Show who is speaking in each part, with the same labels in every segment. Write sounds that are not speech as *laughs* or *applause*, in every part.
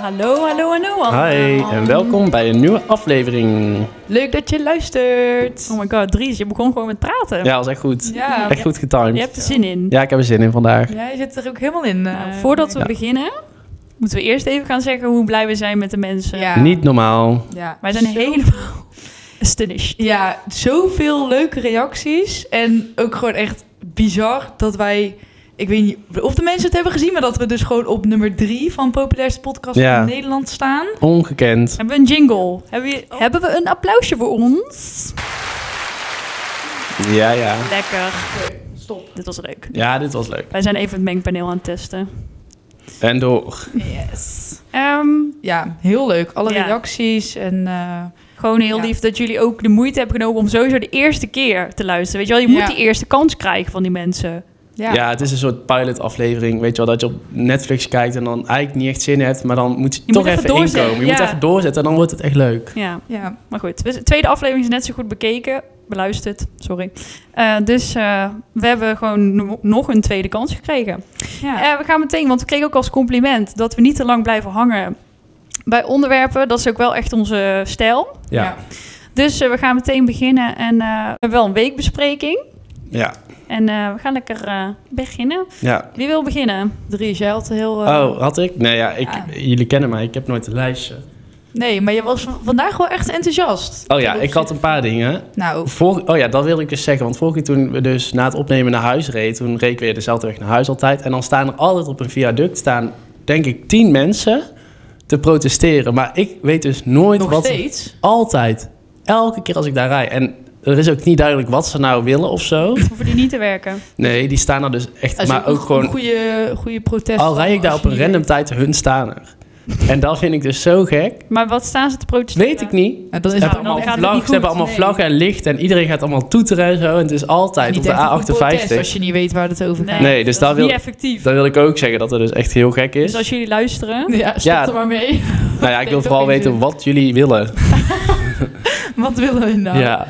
Speaker 1: Hallo, hallo en Noah.
Speaker 2: Hi en welkom bij een nieuwe aflevering.
Speaker 1: Leuk dat je luistert. Oh my god, Dries, je begon gewoon met praten.
Speaker 2: Ja, was echt goed.
Speaker 3: Ja,
Speaker 2: Echt goed getimed.
Speaker 1: Je hebt er zin in.
Speaker 2: Ja, ik heb er zin in vandaag.
Speaker 3: jij zit er ook helemaal in. eh.
Speaker 1: Nou, voordat we
Speaker 2: Ja.
Speaker 1: beginnen, moeten we eerst even gaan zeggen hoe blij we zijn met de mensen.
Speaker 3: Ja.
Speaker 2: Niet normaal.
Speaker 3: Ja.
Speaker 1: Wij zijn
Speaker 3: Zo-
Speaker 1: helemaal *laughs* astonished.
Speaker 3: Ja, zoveel leuke reacties. En ook gewoon echt bizar dat wij... Ik weet niet of de mensen het hebben gezien... maar dat we dus gewoon op nummer drie van populairste podcast
Speaker 2: Ja.
Speaker 3: in Nederland staan.
Speaker 2: Ongekend.
Speaker 1: Hebben we een jingle? Hebben we,
Speaker 3: Oh.
Speaker 1: hebben we een applausje voor ons?
Speaker 2: Ja, ja.
Speaker 1: Lekker. Stop. Dit was leuk.
Speaker 2: Ja, dit was leuk.
Speaker 1: Wij zijn even het mengpaneel aan het testen.
Speaker 2: En door.
Speaker 3: Yes.
Speaker 1: Ehm,
Speaker 3: Ja, heel leuk. Alle
Speaker 1: Ja.
Speaker 3: reacties en... eh,
Speaker 1: Gewoon heel
Speaker 3: Ja.
Speaker 1: lief dat jullie ook de moeite hebben genomen om sowieso de eerste keer te luisteren. Weet je wel, je moet
Speaker 3: Ja.
Speaker 1: die eerste kans krijgen van die mensen.
Speaker 3: ja.
Speaker 2: Ja. het is een soort pilot aflevering. Weet je wel, dat je op Netflix kijkt en dan eigenlijk niet echt zin hebt, maar dan moet je,
Speaker 1: Je
Speaker 2: toch
Speaker 1: moet even
Speaker 2: even
Speaker 1: doorzetten,
Speaker 2: inkomen. Je
Speaker 1: ja.
Speaker 2: moet even doorzetten en dan wordt het echt leuk.
Speaker 1: Ja,
Speaker 3: Ja.
Speaker 1: maar goed. Dus De tweede aflevering is net zo goed bekeken. Beluisterd, sorry. Eh, dus eh, we hebben gewoon no- nog een tweede kans gekregen.
Speaker 3: Ja.
Speaker 1: Eh, we gaan meteen, want we kregen ook als compliment dat we niet te lang blijven hangen bij onderwerpen. Dat is ook wel echt onze stijl.
Speaker 2: Ja.
Speaker 3: Ja.
Speaker 2: Ja.
Speaker 1: Dus eh, we gaan meteen beginnen en eh, we hebben wel een weekbespreking. En eh, we gaan lekker eh, beginnen.
Speaker 2: Ja.
Speaker 1: Wie wil beginnen?
Speaker 3: Dries, jij had heel... eh,
Speaker 2: Oh, had ik? Nee, ja, ik,
Speaker 3: Ja.
Speaker 2: jullie kennen mij. Ik heb nooit een lijstje.
Speaker 3: Nee, maar je was v- vandaag wel echt enthousiast.
Speaker 2: Oh ja, ik had een paar dingen.
Speaker 3: Nou,
Speaker 2: Vor- oh ja, dat wilde ik dus zeggen. Want vorige keer toen we dus na het opnemen naar huis reed... toen reed ik weer dezelfde weg naar huis altijd. En dan staan er altijd op een viaduct... staan denk ik tien mensen te protesteren. Maar ik weet dus nooit
Speaker 3: nog
Speaker 2: wat...
Speaker 3: steeds.
Speaker 2: Altijd. Elke keer als ik daar rijd. En er is ook niet duidelijk wat ze nou willen of zo.
Speaker 1: Hoeven die niet te werken?
Speaker 2: Nee, die staan er dus echt...
Speaker 3: Dat is
Speaker 2: maar ook
Speaker 3: een
Speaker 2: gewoon...
Speaker 3: goede, goede protest.
Speaker 2: Al rij ik daar
Speaker 3: Als
Speaker 2: op een
Speaker 3: je-
Speaker 2: random tijd, hun staan er. En dat vind ik dus zo gek.
Speaker 1: Maar wat staan ze te protesteren?
Speaker 2: Weet ik niet.
Speaker 3: Ja, dan
Speaker 2: Ze
Speaker 3: is het
Speaker 2: hebben
Speaker 1: Nou, dan
Speaker 2: allemaal,
Speaker 1: gaat het
Speaker 2: vlag,
Speaker 1: niet
Speaker 2: ze hebben allemaal
Speaker 3: nee.
Speaker 2: vlaggen en licht en iedereen gaat allemaal toeteren en zo. En het is altijd
Speaker 3: niet
Speaker 2: op
Speaker 3: echt een goed
Speaker 2: de
Speaker 3: protest
Speaker 2: A58.
Speaker 3: Als je niet weet waar het over gaat.
Speaker 2: Nee, dus daar
Speaker 1: is
Speaker 2: wil-
Speaker 1: niet effectief.
Speaker 2: Dat wil ik ook zeggen, dat het dus echt heel gek is.
Speaker 1: Dus als jullie luisteren,
Speaker 3: Ja, stop
Speaker 2: Ja.
Speaker 3: er maar mee. *laughs*
Speaker 2: nou ja, ik
Speaker 1: *laughs*
Speaker 2: wil
Speaker 3: weet
Speaker 2: vooral
Speaker 3: ook niet
Speaker 2: weten wat jullie willen.
Speaker 3: Wat willen we nou?
Speaker 2: Ja.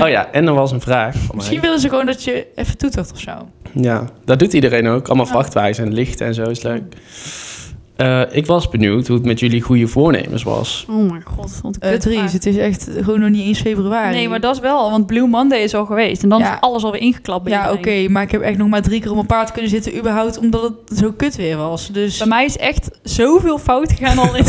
Speaker 2: Oh ja, en er was een vraag van
Speaker 3: Misschien
Speaker 2: mij.
Speaker 3: willen ze gewoon dat je even toetert of zo.
Speaker 2: Ja, dat doet iedereen ook. Allemaal
Speaker 3: Ja.
Speaker 2: vrachtwagens en licht en zo, is leuk. Eh, ik was benieuwd hoe het met jullie goede voornemens was.
Speaker 1: Oh mijn god, wat
Speaker 3: Eh
Speaker 1: kut.
Speaker 3: Dries, het is echt gewoon nog niet eens februari.
Speaker 1: Nee, maar dat is wel, want Blue Monday is al geweest. En dan
Speaker 3: Ja.
Speaker 1: is alles alweer ingeklapt bij
Speaker 3: Ja, oké,
Speaker 1: iedereen.
Speaker 3: maar ik heb echt nog maar drie keer op mijn paard kunnen zitten überhaupt, omdat het zo kut weer was. Dus
Speaker 1: Bij mij is echt zoveel fout gegaan
Speaker 3: *laughs*
Speaker 1: al in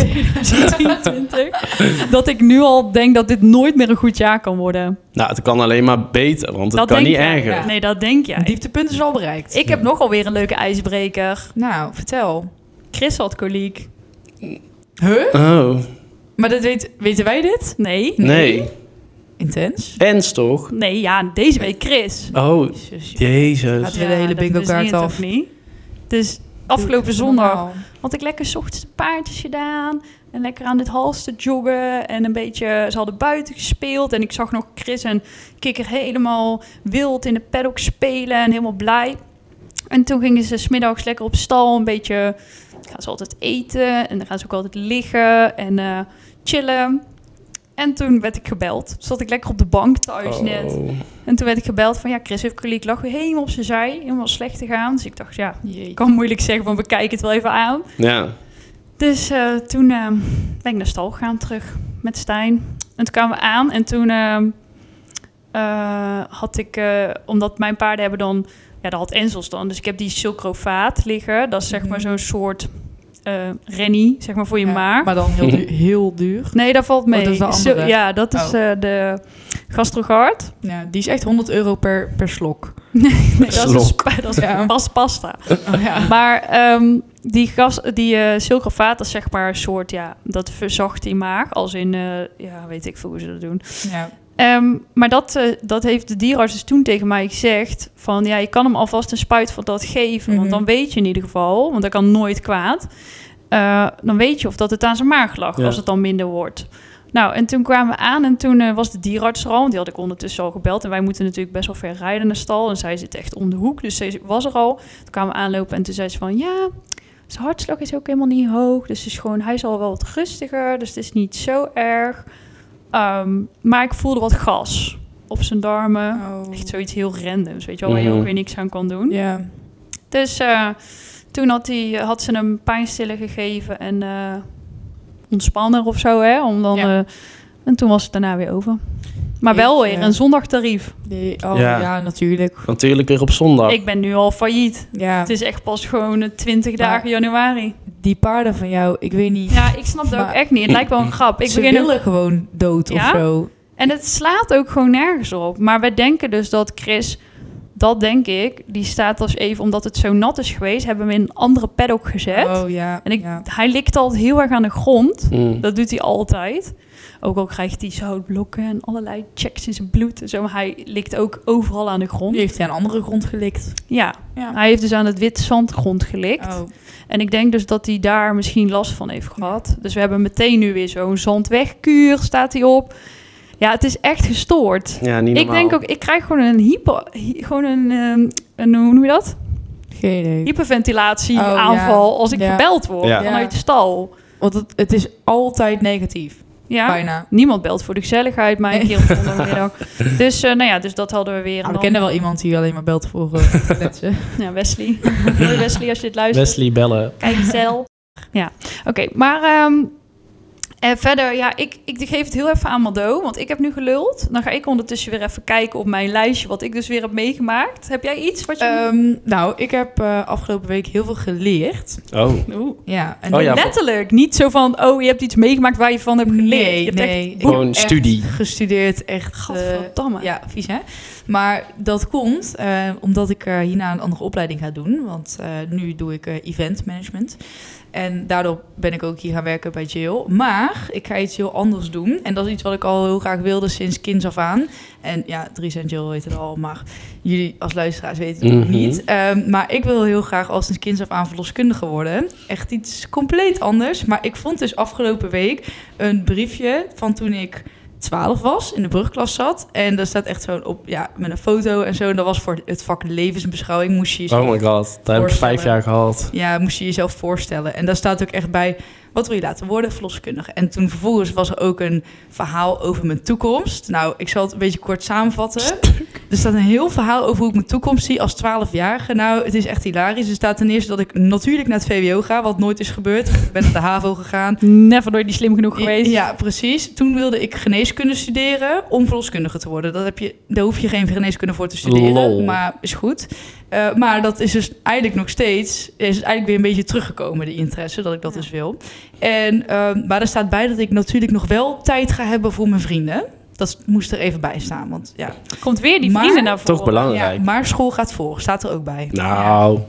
Speaker 1: 2023. dat ik nu al denk dat dit nooit meer een goed jaar kan worden.
Speaker 2: Nou, het kan alleen maar beter, want het
Speaker 1: dat
Speaker 2: kan
Speaker 1: denk
Speaker 2: niet
Speaker 1: jij.
Speaker 2: erger.
Speaker 3: ja.
Speaker 1: Nee, dat denk jij.
Speaker 3: dieptepunt is al bereikt.
Speaker 1: Ik heb nogal weer een leuke ijsbreker.
Speaker 3: Nou, vertel.
Speaker 1: Chris had koliek.
Speaker 3: Huh?
Speaker 2: Oh,
Speaker 3: Maar dat weet, weten wij dit?
Speaker 1: Nee.
Speaker 2: nee.
Speaker 3: Intens.
Speaker 2: Ens toch?
Speaker 1: Nee, ja, deze week Chris.
Speaker 2: Oh,
Speaker 3: Jezus, joh.
Speaker 2: jezus.
Speaker 3: Laten we de hele
Speaker 1: dat
Speaker 3: bingo
Speaker 1: verzin je
Speaker 3: kaart
Speaker 1: toch
Speaker 3: af.
Speaker 1: niet? Dus afgelopen
Speaker 3: Doe
Speaker 1: zondag
Speaker 3: normaal.
Speaker 1: had ik lekker 's ochtends de paardjes gedaan. En lekker aan dit hals te joggen. En een beetje, ze hadden buiten gespeeld. En ik zag nog Chris en Kikker helemaal wild in de paddock spelen. En helemaal blij. En toen gingen ze smiddags lekker op stal. Een beetje, gaan ze altijd eten. En dan gaan ze ook altijd liggen en eh, chillen. En toen werd ik gebeld. Zat ik lekker op de bank thuis dus net.
Speaker 2: Oh.
Speaker 1: En toen werd ik gebeld van, ja, Chris heeft koliek. Lag weer helemaal op zijn zij. Helemaal slecht te gaan. Dus ik dacht, ja,
Speaker 3: Jeetje.
Speaker 1: ik kan moeilijk zeggen, van we kijken het wel even aan.
Speaker 2: Ja.
Speaker 1: Dus eh, toen eh, ben ik naar stal gegaan terug met Stijn. En toen kwamen we aan en toen eh, eh, had ik, eh, omdat mijn paarden hebben dan, ja, dat had Enzels dan. Dus ik heb die silcrofaat liggen. Dat is zeg
Speaker 3: Mhm.
Speaker 1: maar zo'n soort eh rennie, zeg maar voor je
Speaker 3: Ja,
Speaker 1: maar.
Speaker 3: Maar dan heel duur. *laughs* Heel duur.
Speaker 1: Nee, dat valt mee.
Speaker 3: dat is de
Speaker 1: Sil-
Speaker 3: andere. Oh.
Speaker 1: ja, dat is eh, de
Speaker 3: *laughs*
Speaker 1: gastrogard.
Speaker 3: Ja, die is echt 100 euro per, per slok.
Speaker 1: Nee, dat is, een
Speaker 2: Slok.
Speaker 1: spa- dat is
Speaker 3: Ja.
Speaker 1: pas pasta.
Speaker 3: Oh,
Speaker 1: *laughs*
Speaker 3: ja.
Speaker 1: Maar ehm, die, gas, die eh silcofaat, dat is zeg maar een soort, ja, dat verzacht die maag. Als in, eh, ja, weet ik veel hoe ze dat doen.
Speaker 3: ja.
Speaker 1: Ehm, maar dat, eh, dat heeft de dierenarts dus toen tegen mij gezegd. Van ja, je kan hem alvast een spuit van dat geven.
Speaker 3: Mhm.
Speaker 1: Want dan weet je in ieder geval, want dat kan nooit kwaad. eh, dan weet je of dat het aan zijn maag lag,
Speaker 2: Ja.
Speaker 1: als het dan minder wordt. Nou, en toen kwamen we aan en toen eh, was de dierenarts er al. Want die had ik ondertussen al gebeld. En wij moeten natuurlijk best wel ver rijden naar stal. En zij zit echt om de hoek, dus zij was er al. Toen kwamen we aanlopen en toen zei ze van... Ja, zijn hartslag is ook helemaal niet hoog. Dus het is gewoon, hij is al wel wat rustiger. Dus het is niet zo erg. Ehm, maar ik voelde wat gas op zijn darmen.
Speaker 3: Oh.
Speaker 1: Echt zoiets heel randoms, weet je wel, waar je
Speaker 2: Mhm.
Speaker 1: ook weer niks aan kan doen.
Speaker 3: Ja.
Speaker 1: Dus eh, toen had, hij had ze hem pijnstiller gegeven en eh, ontspannen of zo. Hè, om dan,
Speaker 3: Ja.
Speaker 1: eh, en toen was het daarna weer over. Maar
Speaker 3: Ik,
Speaker 1: wel weer
Speaker 3: eh,
Speaker 1: een zondagtarief.
Speaker 3: Nee, oh
Speaker 2: Ja.
Speaker 3: ja, natuurlijk.
Speaker 2: Natuurlijk weer op zondag.
Speaker 1: Ik ben nu al failliet.
Speaker 3: Ja,
Speaker 1: Het is echt pas gewoon eh, 20 dagen januari.
Speaker 3: die paarden van jou, ik weet niet.
Speaker 1: Ja, ik snap dat ook
Speaker 3: Maar-
Speaker 1: echt niet. Het lijkt wel een grap. Ik
Speaker 3: ze
Speaker 1: begin
Speaker 3: willen gewoon dood
Speaker 1: Ja?
Speaker 3: of zo.
Speaker 1: En het slaat ook gewoon nergens op. Maar wij denken dus dat Chris, dat denk ik, die staat als even omdat het zo nat is geweest, hebben we in een andere paddock gezet.
Speaker 3: Oh ja.
Speaker 1: En ik,
Speaker 3: ja.
Speaker 1: hij likt altijd heel erg aan de grond.
Speaker 2: Mm.
Speaker 1: Dat doet hij altijd. Ook al krijgt hij zoutblokken en allerlei checks in zijn bloed en zo. Maar hij likt ook overal aan de grond.
Speaker 3: Nu heeft hij een andere grond gelikt.
Speaker 1: Ja,
Speaker 3: Ja.
Speaker 1: hij heeft dus aan het wit zandgrond gelikt.
Speaker 3: Oh.
Speaker 1: En ik denk dus dat hij daar misschien last van heeft gehad. Dus we hebben meteen nu weer zo'n zandwegkuur, staat hij op. Ja, het is echt gestoord.
Speaker 2: Ja, niet
Speaker 1: Ik
Speaker 2: normaal.
Speaker 1: denk ook, ik krijg gewoon een hypo, hy- gewoon een, ehm, een, hoe noem je dat?
Speaker 3: Geen idee.
Speaker 1: Hyperventilatie
Speaker 3: Oh, ja.
Speaker 1: aanval als ik
Speaker 3: Ja.
Speaker 1: gebeld word
Speaker 2: Ja.
Speaker 1: vanuit de stal.
Speaker 3: Want het, het is altijd negatief.
Speaker 1: Ja.
Speaker 3: Bijna.
Speaker 1: Niemand belt voor de gezelligheid, maar een
Speaker 3: Nee.
Speaker 1: keer op
Speaker 3: *laughs*
Speaker 1: zondagmiddag. dus eh, nou ja, dus dat hadden we weer.
Speaker 3: Ah,
Speaker 1: En
Speaker 3: we
Speaker 1: dan-
Speaker 3: kennen wel iemand die alleen maar belt voor eh, *laughs*
Speaker 1: *laughs*
Speaker 3: mensen.
Speaker 1: Ja, Wesley. Hoi Wesley, als je dit luistert.
Speaker 2: Wesley bellen.
Speaker 1: Kijk cel. Ja, oké. maar ehm, eh, verder, ja, ik, ik geef het heel even aan Mado, want ik heb nu geluld. Dan ga ik ondertussen weer even kijken op mijn lijstje, wat ik dus weer heb meegemaakt. Heb jij iets wat je...
Speaker 3: Ehm, nou, ik heb eh, afgelopen week heel veel geleerd.
Speaker 2: Oh,
Speaker 1: Oeh.
Speaker 3: Ja. En
Speaker 2: Oh ja,
Speaker 1: Letterlijk, niet zo van, oh, je hebt iets meegemaakt waar je van hebt geleerd.
Speaker 3: Nee,
Speaker 1: je hebt echt-
Speaker 3: nee. Ik
Speaker 2: Gewoon
Speaker 3: heb echt
Speaker 2: studie.
Speaker 3: Gestudeerd, echt. eh,
Speaker 1: Gadverdamme.
Speaker 3: ja, vies hè. Maar dat komt eh, omdat ik eh, hierna een andere opleiding ga doen. Want eh, nu doe ik eh, event management. En daardoor ben ik ook hier gaan werken bij Jill. Maar ik ga iets heel anders doen. En dat is iets wat ik al heel graag wilde sinds kinds af aan. En ja, Dries en Jill weten het al, maar jullie als luisteraars weten het
Speaker 2: Mhm.
Speaker 3: niet. Ehm, maar ik wil heel graag al sinds kinds af aan verloskundige worden. Echt iets compleet anders. Maar ik vond dus afgelopen week een briefje van toen ik 12 was, in de brugklas zat. En daar staat echt zo'n op, ja, met een foto en zo. En dat was voor het vak levensbeschouwing. Moest je jezelf
Speaker 2: oh my god. Dat heb ik vijf jaar gehad.
Speaker 3: ja, moest je jezelf voorstellen. En daar staat ook echt bij, wat wil je laten worden, verloskundige? En toen vervolgens was er ook een verhaal over mijn toekomst. Nou, ik zal het een beetje kort samenvatten. Er staat een heel verhaal over hoe ik mijn toekomst zie als 12-jarige. Nou, het is echt hilarisch. Er staat ten eerste dat ik natuurlijk naar het VWO ga, wat nooit is gebeurd. Ik ben naar de HAVO gegaan.
Speaker 1: Never nooit die slim genoeg
Speaker 3: I-
Speaker 1: geweest.
Speaker 3: Ja, precies. Toen wilde ik geneeskunde studeren om verloskundige te worden. Dat heb je, daar hoef je geen geneeskunde voor te studeren,
Speaker 2: Lol.
Speaker 3: maar is goed. Eh, maar dat is dus eigenlijk nog steeds, is het eigenlijk weer een beetje teruggekomen, die interesse, dat ik dat
Speaker 1: Ja.
Speaker 3: dus wil. En, ehm, maar er staat bij dat ik natuurlijk nog wel tijd ga hebben voor mijn vrienden. Dat moest er even bij staan, want ja.
Speaker 1: Komt weer die
Speaker 3: Maar-
Speaker 1: vrienden naar voren.
Speaker 2: Toch belangrijk.
Speaker 3: ja maar school gaat voor, staat er ook bij.
Speaker 2: Nou,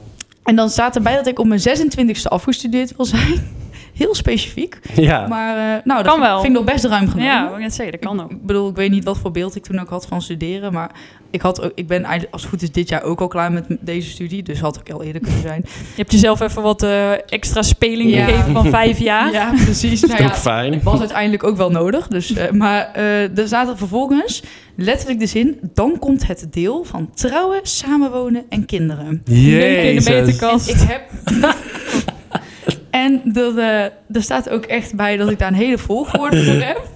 Speaker 3: En dan staat erbij dat ik op mijn 26e afgestudeerd wil zijn. *laughs* Heel specifiek.
Speaker 2: ja.
Speaker 3: Maar eh, nou, dat
Speaker 1: Kan
Speaker 3: vind,
Speaker 1: wel.
Speaker 3: vind ik nog best ruim genomen.
Speaker 1: Ja, ik wil net zeggen, dat kan ook.
Speaker 3: Oh. Ik bedoel, ik weet niet wat voor beeld ik toen ook had van studeren. Maar ik, had ook, ik ben eigenlijk, als het goed is dit jaar ook al klaar met m- deze studie. Dus had ik al eerder kunnen
Speaker 2: *laughs*
Speaker 3: zijn.
Speaker 1: Je hebt jezelf even wat eh, extra speling
Speaker 3: Ja.
Speaker 1: gegeven van vijf jaar.
Speaker 3: precies.
Speaker 2: is
Speaker 3: Nou
Speaker 2: ook
Speaker 3: ja,
Speaker 2: fijn.
Speaker 3: was uiteindelijk ook wel nodig. Dus, eh, maar eh er zaten vervolgens letterlijk de zin... dan komt het deel van trouwen, samenwonen en kinderen.
Speaker 1: Leuk in de
Speaker 2: Jezus.
Speaker 1: beterkast.
Speaker 3: Ik heb... *laughs* en dat, eh, er staat ook echt bij dat ik daar een hele volgorde voor
Speaker 2: *laughs*
Speaker 3: heb.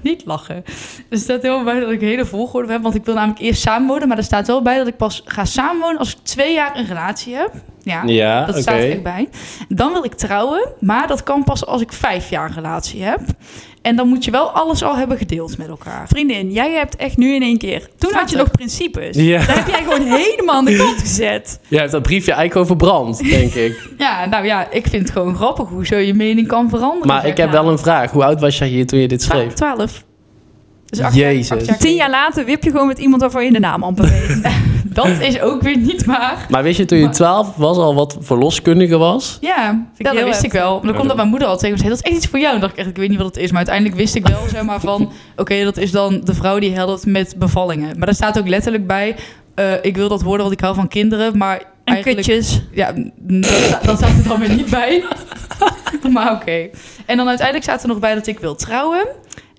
Speaker 3: Niet lachen. Er staat helemaal bij dat ik een hele volgorde voor heb. Want ik wil namelijk eerst samenwonen. Maar er staat wel bij dat ik pas ga samenwonen als ik twee jaar een relatie heb. Ja,
Speaker 2: Ja,
Speaker 3: dat
Speaker 2: oké.
Speaker 3: staat er echt bij. Dan wil ik trouwen. Maar dat kan pas als ik vijf jaar een relatie heb. En dan moet je wel alles al hebben gedeeld met elkaar.
Speaker 1: Vriendin, jij hebt echt nu in één keer... Toen had je
Speaker 3: Schattig.
Speaker 1: nog principes.
Speaker 2: Ja.
Speaker 1: Daar heb jij gewoon helemaal aan de kant gezet.
Speaker 2: Jij hebt dat briefje eigenlijk overbrand, denk
Speaker 3: *laughs*
Speaker 2: ik.
Speaker 3: Ja, nou ja, ik vind het gewoon grappig hoe zo je mening kan veranderen.
Speaker 2: Maar
Speaker 3: zeg
Speaker 2: ik heb wel een vraag. Hoe oud was jij hier toen je dit
Speaker 3: Twa-
Speaker 2: schreef?
Speaker 3: 12. Dus acht jaar-
Speaker 2: Jezus.
Speaker 3: acht jaar
Speaker 1: Tien jaar later wip je gewoon met iemand waarvan je de naam amper *laughs* weet.
Speaker 3: Dat is ook weer niet waar.
Speaker 2: Maar wist je toen je 12 was al wat verloskundige was?
Speaker 3: Ja,
Speaker 1: ik
Speaker 3: dat
Speaker 1: heel
Speaker 3: wist
Speaker 1: heftig.
Speaker 3: ik wel. Maar dan komt dat mijn moeder al tegen me zei, dat is echt iets voor jou. En dacht ik echt, ik weet niet wat het is. Maar uiteindelijk wist ik wel, zeg maar, van...
Speaker 1: *laughs*
Speaker 3: Oké, dat is dan de vrouw die helpt met bevallingen. Maar daar staat ook letterlijk bij... eh, ik wil dat worden, want ik hou van kinderen. Maar
Speaker 1: En
Speaker 3: eigenlijk...
Speaker 1: kutjes.
Speaker 3: Ja, dat, sta- dat staat er dan weer niet bij. *laughs* maar oké. En dan uiteindelijk staat er nog bij dat ik wil trouwen.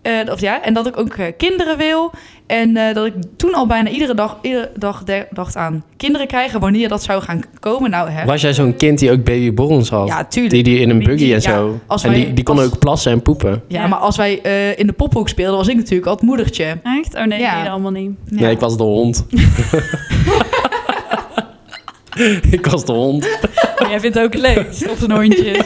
Speaker 3: Eh, of ja, en dat ik ook eh, kinderen wil. En eh, dat ik toen al bijna iedere dag, iedere dag de- dacht aan kinderen krijgen. Wanneer dat zou gaan komen. Nou, hè.
Speaker 2: Was jij zo'n kind die ook babyborrels had?
Speaker 3: Ja, tuurlijk.
Speaker 2: die die in een
Speaker 3: Die-
Speaker 2: buggy
Speaker 3: die-
Speaker 2: en
Speaker 3: ja,
Speaker 2: zo.
Speaker 3: als
Speaker 2: en
Speaker 3: wij-
Speaker 2: die, die kon
Speaker 3: als-
Speaker 2: ook plassen en poepen.
Speaker 3: Ja, maar als wij eh, in de pophoek speelden, was ik natuurlijk al het moedertje.
Speaker 1: Echt? Oh nee,
Speaker 3: Ja.
Speaker 1: nee, dat allemaal niet.
Speaker 3: Ja.
Speaker 2: Nee, ik was de
Speaker 3: *laughs*
Speaker 2: hond. *laughs* ik was de hond.
Speaker 3: *laughs* Oh,
Speaker 1: Maar jij vindt het ook leuk. Op zijn hondjes.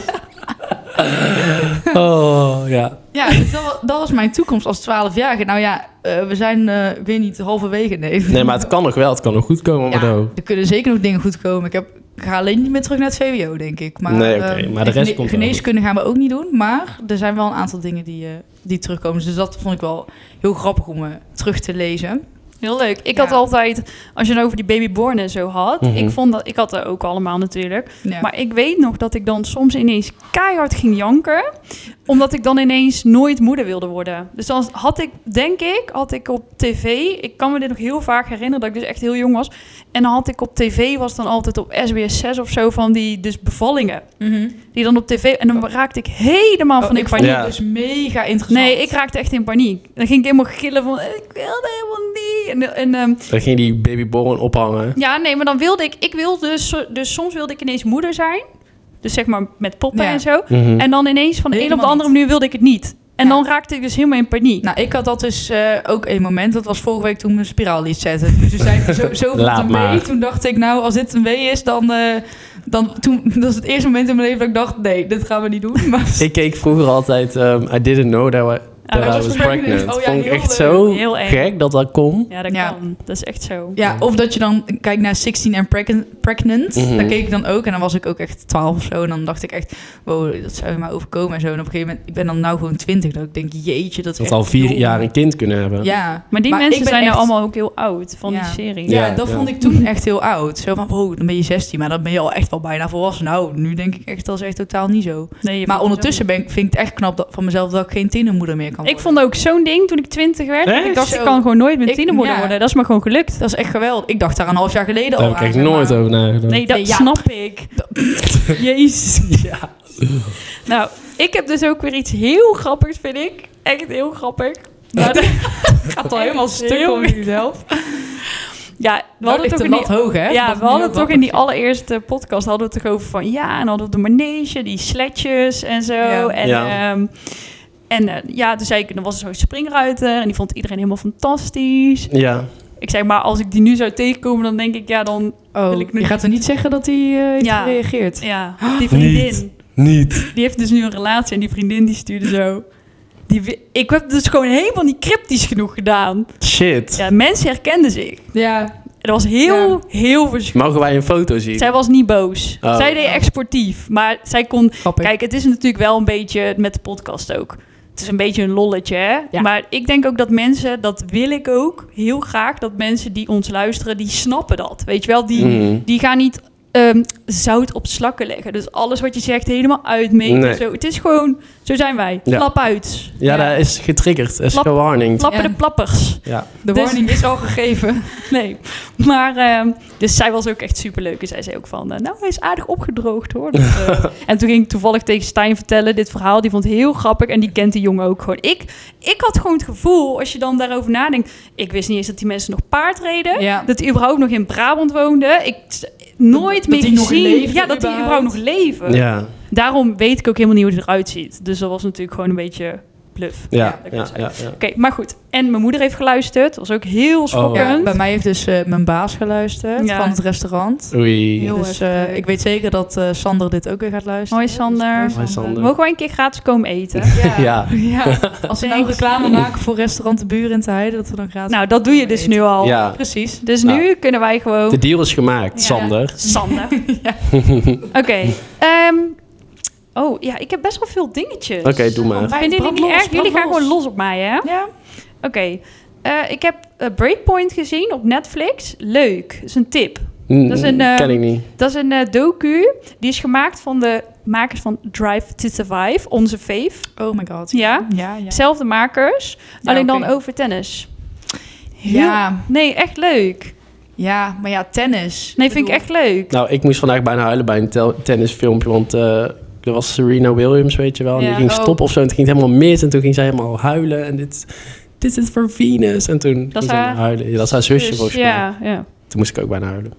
Speaker 2: Oh, ja.
Speaker 3: Ja, dus dat, wa- dat was mijn toekomst als 12-jarige. Nou ja, eh, we zijn, eh, ik weet niet, halverwege. Nee,
Speaker 2: Nee, maar het kan nog wel. Het kan nog goed komen,
Speaker 3: Ja,
Speaker 2: Mado.
Speaker 3: er kunnen zeker nog dingen goed komen. Ik, heb, ik ga alleen niet meer terug naar het VWO, denk ik. Maar,
Speaker 2: Nee, oké,
Speaker 3: eh,
Speaker 2: maar de
Speaker 3: en
Speaker 2: rest
Speaker 3: gene-
Speaker 2: komt wel
Speaker 3: Geneeskunde gaan we ook niet doen. Maar er zijn wel een aantal dingen die, eh, die terugkomen. Dus dat vond ik wel heel grappig om eh, terug te lezen.
Speaker 1: Heel leuk. Ik
Speaker 3: Ja.
Speaker 1: had altijd, als je het over die babyborn en zo had,
Speaker 2: Mhm.
Speaker 1: ik vond dat, ik had er ook allemaal natuurlijk.
Speaker 3: Ja.
Speaker 1: Maar ik weet nog dat ik dan soms ineens keihard ging janken. Omdat ik dan ineens nooit moeder wilde worden. Dus dan had ik, denk ik, had ik op tv... Ik kan me dit nog heel vaak herinneren dat ik dus echt heel jong was. En dan had ik op tv, was dan altijd op SBS 6 of zo, van die dus bevallingen.
Speaker 3: Mhm.
Speaker 1: Die dan op tv... En dan raakte ik helemaal
Speaker 3: Oh,
Speaker 1: van
Speaker 3: ik
Speaker 1: ik
Speaker 3: vond
Speaker 1: paniek.
Speaker 2: Ja.
Speaker 3: het dus mega interessant.
Speaker 1: Nee, ik raakte echt in paniek. Dan ging ik helemaal gillen van, ik wilde helemaal niet. En, en ehm,
Speaker 2: Dan ging die babyborn ophangen.
Speaker 1: ja, nee, maar dan wilde ik... Ik wilde dus... Dus soms wilde ik ineens moeder zijn. Dus zeg maar met poppen
Speaker 3: Ja.
Speaker 1: en zo.
Speaker 2: Mhm.
Speaker 1: En dan ineens van de een op de
Speaker 3: Helemaal
Speaker 1: andere
Speaker 3: niet.
Speaker 1: manier wilde ik het niet. En
Speaker 3: Ja.
Speaker 1: dan raakte ik dus helemaal in paniek.
Speaker 3: Nou, ik had dat dus eh, ook een moment. Dat was vorige week toen mijn spiraal liet zetten. Dus toen zei ik zo,
Speaker 2: *laughs*
Speaker 3: zo
Speaker 2: Laat
Speaker 3: een wee.
Speaker 2: maar.
Speaker 3: Toen dacht ik, nou, als dit een wee is, dan... eh, dan toen, *laughs* dat was het eerste moment in mijn leven dat ik dacht, nee, dit gaan we niet doen. *laughs* Maar
Speaker 2: Ik keek vroeger altijd ehm, I Didn't Know That, wa- that
Speaker 1: I
Speaker 2: I
Speaker 1: Was
Speaker 2: Was,
Speaker 3: Pregnant.
Speaker 2: Pregnant.
Speaker 3: Oh ja,
Speaker 2: Vond ik
Speaker 3: heel
Speaker 2: echt
Speaker 3: leuk.
Speaker 2: zo
Speaker 1: Heel eng.
Speaker 2: gek dat dat kon.
Speaker 1: ja, dat
Speaker 3: Ja.
Speaker 1: kan. Dat is echt zo.
Speaker 3: Ja, of dat je dan kijkt naar 16 en Pregn- Pregnant.
Speaker 2: Mhm.
Speaker 3: Daar keek ik dan ook. En dan was ik ook echt 12 of zo. En dan dacht ik echt, wow, dat zou je maar overkomen en zo. En op een gegeven moment, ik ben dan nou gewoon 20. Dat ik denk, jeetje, dat is
Speaker 2: Dat
Speaker 3: echt
Speaker 2: al vier
Speaker 3: jong.
Speaker 2: jaar een kind kunnen hebben.
Speaker 3: Ja.
Speaker 1: Maar die
Speaker 3: ik
Speaker 1: mensen
Speaker 3: ben
Speaker 1: zijn
Speaker 3: echt-
Speaker 1: nou allemaal ook heel oud van
Speaker 3: Ja.
Speaker 1: die serie.
Speaker 3: Ja,
Speaker 2: Ja,
Speaker 3: dat
Speaker 2: ja.
Speaker 3: vond ik toen echt heel oud. Zo van, wow, dan ben je 16, maar dan ben je al echt wel bijna volwassen. Nou, nu denk ik echt, dat is echt totaal niet zo.
Speaker 1: Nee, je
Speaker 3: Maar
Speaker 1: vindt
Speaker 3: ondertussen ben ik, vind ik het echt knap dat, van mezelf dat ik geen tienermoeder meer kan
Speaker 1: het zo. Ik
Speaker 3: worden.
Speaker 1: vond ook zo'n ding toen ik twintig werd.
Speaker 2: Echt?
Speaker 1: Ik dacht,
Speaker 3: Zo.
Speaker 1: ik kan gewoon
Speaker 3: Ik-
Speaker 1: nooit mijn tienermoeder
Speaker 3: ja.
Speaker 1: worden. Dat is me gewoon gelukt.
Speaker 3: Dat is echt geweldig. Ik dacht daar een half jaar geleden
Speaker 2: Daar
Speaker 3: al
Speaker 2: heb ik echt
Speaker 3: aan,
Speaker 2: nooit
Speaker 3: maar-
Speaker 2: over nagedacht.
Speaker 1: Nee, dat
Speaker 3: Nee, ja.
Speaker 1: snap
Speaker 3: *laughs*
Speaker 1: ik. Jezus. Nou, ik heb dus ook weer iets heel grappigs, vind ik. Echt heel grappig. Maar
Speaker 3: *laughs*
Speaker 1: dat gaat
Speaker 3: al helemaal stuk om *laughs*
Speaker 1: jezelf. Ja, we
Speaker 3: Nou,
Speaker 1: hadden
Speaker 3: ligt
Speaker 1: het
Speaker 3: de
Speaker 1: ook niet
Speaker 3: lat hoog, hè? Dat
Speaker 1: Ja,
Speaker 3: is
Speaker 1: we
Speaker 3: nu
Speaker 1: hadden
Speaker 3: ook
Speaker 1: het toch
Speaker 3: wel-
Speaker 1: in die allereerste podcast hadden we het toch over van ja, en hadden we de manege, die sletjes en zo.
Speaker 3: Ja.
Speaker 1: En,
Speaker 2: Ja.
Speaker 1: ehm, en eh, ja, toen zei ik, dan was er zo'n springruiter en die vond iedereen helemaal fantastisch.
Speaker 2: Ja.
Speaker 1: Ik zei, maar als ik die nu zou tegenkomen, dan denk ik, ja, dan,
Speaker 3: Oh,
Speaker 1: Wil ik nu
Speaker 3: je gaat er niet zeggen dat hij eh, heeft
Speaker 1: Ja.
Speaker 3: gereageerd.
Speaker 1: ja, die vriendin,
Speaker 2: Niet.
Speaker 1: die heeft dus nu een relatie en die vriendin die stuurde zo. Die, wi- ik heb dus gewoon helemaal niet cryptisch genoeg gedaan.
Speaker 2: Shit.
Speaker 1: Ja, mensen herkenden zich.
Speaker 3: Ja,
Speaker 1: Het was heel,
Speaker 3: Ja.
Speaker 1: heel verschrikkelijk.
Speaker 2: Mogen wij een foto zien?
Speaker 1: Zij was niet boos.
Speaker 2: Oh.
Speaker 1: Zij deed echt sportief, maar zij kon
Speaker 3: grappig.
Speaker 1: Kijk, het is natuurlijk wel een beetje met de podcast ook. Het is een beetje een lolletje, hè?
Speaker 3: Ja.
Speaker 1: Maar ik denk ook dat mensen, dat wil ik ook heel graag, dat mensen die ons luisteren, die snappen dat. Weet je wel, die,
Speaker 2: Mhm.
Speaker 1: die gaan niet ehm, zout op slakken leggen. Dus alles wat je zegt helemaal uitmeten.
Speaker 2: Nee.
Speaker 1: Zo. Het is gewoon, zo zijn wij.
Speaker 2: Ja.
Speaker 1: Flap uit.
Speaker 2: Ja,
Speaker 3: Ja.
Speaker 2: dat is getriggerd. Dat is
Speaker 1: Klap-
Speaker 2: gewarning.
Speaker 1: Flappen
Speaker 3: Ja.
Speaker 1: de plappers.
Speaker 2: Ja.
Speaker 3: de
Speaker 1: dus-
Speaker 3: warning
Speaker 1: *laughs*
Speaker 3: is al gegeven.
Speaker 1: Nee. Maar, ehm, dus zij was ook echt superleuk. En zij zei ook van, eh, nou, hij is aardig opgedroogd, hoor.
Speaker 2: *laughs*
Speaker 1: Dus, eh, en toen ging ik toevallig tegen Stijn vertellen dit verhaal. Die vond het heel grappig en die kent die jongen ook gewoon. Ik, ik had gewoon het gevoel, als je dan daarover nadenkt... Ik wist niet eens dat die mensen nog paard reden.
Speaker 3: Ja.
Speaker 1: Dat die überhaupt nog in Brabant woonden. Ik nooit
Speaker 3: Dat
Speaker 1: meer
Speaker 3: die nog
Speaker 1: gezien.
Speaker 3: leefden
Speaker 1: ja, dat die
Speaker 3: überhaupt.
Speaker 1: überhaupt nog leven.
Speaker 2: Ja.
Speaker 1: Daarom weet ik ook helemaal niet hoe het eruit ziet. Dus dat was natuurlijk gewoon een beetje bluff.
Speaker 2: Ja.
Speaker 1: dat kan
Speaker 2: Ja.
Speaker 1: zijn.
Speaker 2: Ja. ja.
Speaker 1: Oké, maar goed. En mijn moeder heeft geluisterd. Dat was ook
Speaker 2: Oh,
Speaker 1: heel schokkend.
Speaker 3: Ja, bij mij heeft dus eh, mijn baas geluisterd
Speaker 1: Ja.
Speaker 3: van het restaurant.
Speaker 2: Oei.
Speaker 1: Heel
Speaker 3: dus
Speaker 1: erg
Speaker 3: eh,
Speaker 1: leuk.
Speaker 3: ik weet zeker dat eh, Sander dit ook weer gaat luisteren.
Speaker 1: Hoi Sander.
Speaker 2: Hoi, Sander.
Speaker 1: Mogen wij een keer gratis komen eten?
Speaker 2: Ja. *laughs*
Speaker 3: *laughs*
Speaker 2: Ja.
Speaker 1: *laughs*
Speaker 3: Als we nou
Speaker 1: Thanks.
Speaker 3: reclame maken voor restaurant De Buren in te Heide, dat we dan gratis...
Speaker 1: Nou, dat doe je dus nu al.
Speaker 2: Ja. Nou.
Speaker 3: Precies.
Speaker 1: Dus nu kunnen wij gewoon...
Speaker 2: De deal is gemaakt,
Speaker 1: Ja.
Speaker 2: Sander. *laughs*
Speaker 1: Sander. Oké. ehm, oh, ja, ik heb best wel veel dingetjes.
Speaker 2: Oké, doe maar.
Speaker 1: Vinden jullie niet
Speaker 3: Brand los,
Speaker 1: erg? Jullie
Speaker 3: brand
Speaker 1: gaan
Speaker 3: los.
Speaker 1: gewoon los op mij, hè?
Speaker 3: Ja.
Speaker 1: Oké. eh, ik heb eh, Breakpoint gezien op Netflix. Leuk. Dat is een tip.
Speaker 2: Dat
Speaker 1: is een, eh,
Speaker 2: Ken ik niet.
Speaker 1: Dat is een eh, docu. Die is gemaakt van de makers van Drive to Survive. Onze fave.
Speaker 3: Oh my god.
Speaker 1: Ja.
Speaker 3: Ja, ja.
Speaker 1: Zelfde makers.
Speaker 3: Ja,
Speaker 1: alleen
Speaker 3: oké.
Speaker 1: dan over tennis.
Speaker 3: Ja,
Speaker 1: Nee, echt leuk.
Speaker 3: ja, maar ja, tennis.
Speaker 1: Nee, vind ik
Speaker 3: bedoel-
Speaker 1: echt leuk.
Speaker 2: Nou, ik moest vandaag bijna huilen bij een tel- tennisfilmpje, want eh, er was Serena Williams, weet je wel. En
Speaker 1: Ja.
Speaker 2: die ging
Speaker 3: Oh.
Speaker 2: stoppen of zo en toen ging het helemaal mis. En toen ging zij helemaal huilen en dit, dit is voor Venus. En toen
Speaker 1: Dat is
Speaker 2: ging ze
Speaker 1: haar-
Speaker 2: huilen. Ja, dat is haar zusje
Speaker 1: Dus,
Speaker 2: volgens mij.
Speaker 1: ja, ja.
Speaker 2: Toen moest ik ook bijna huilen.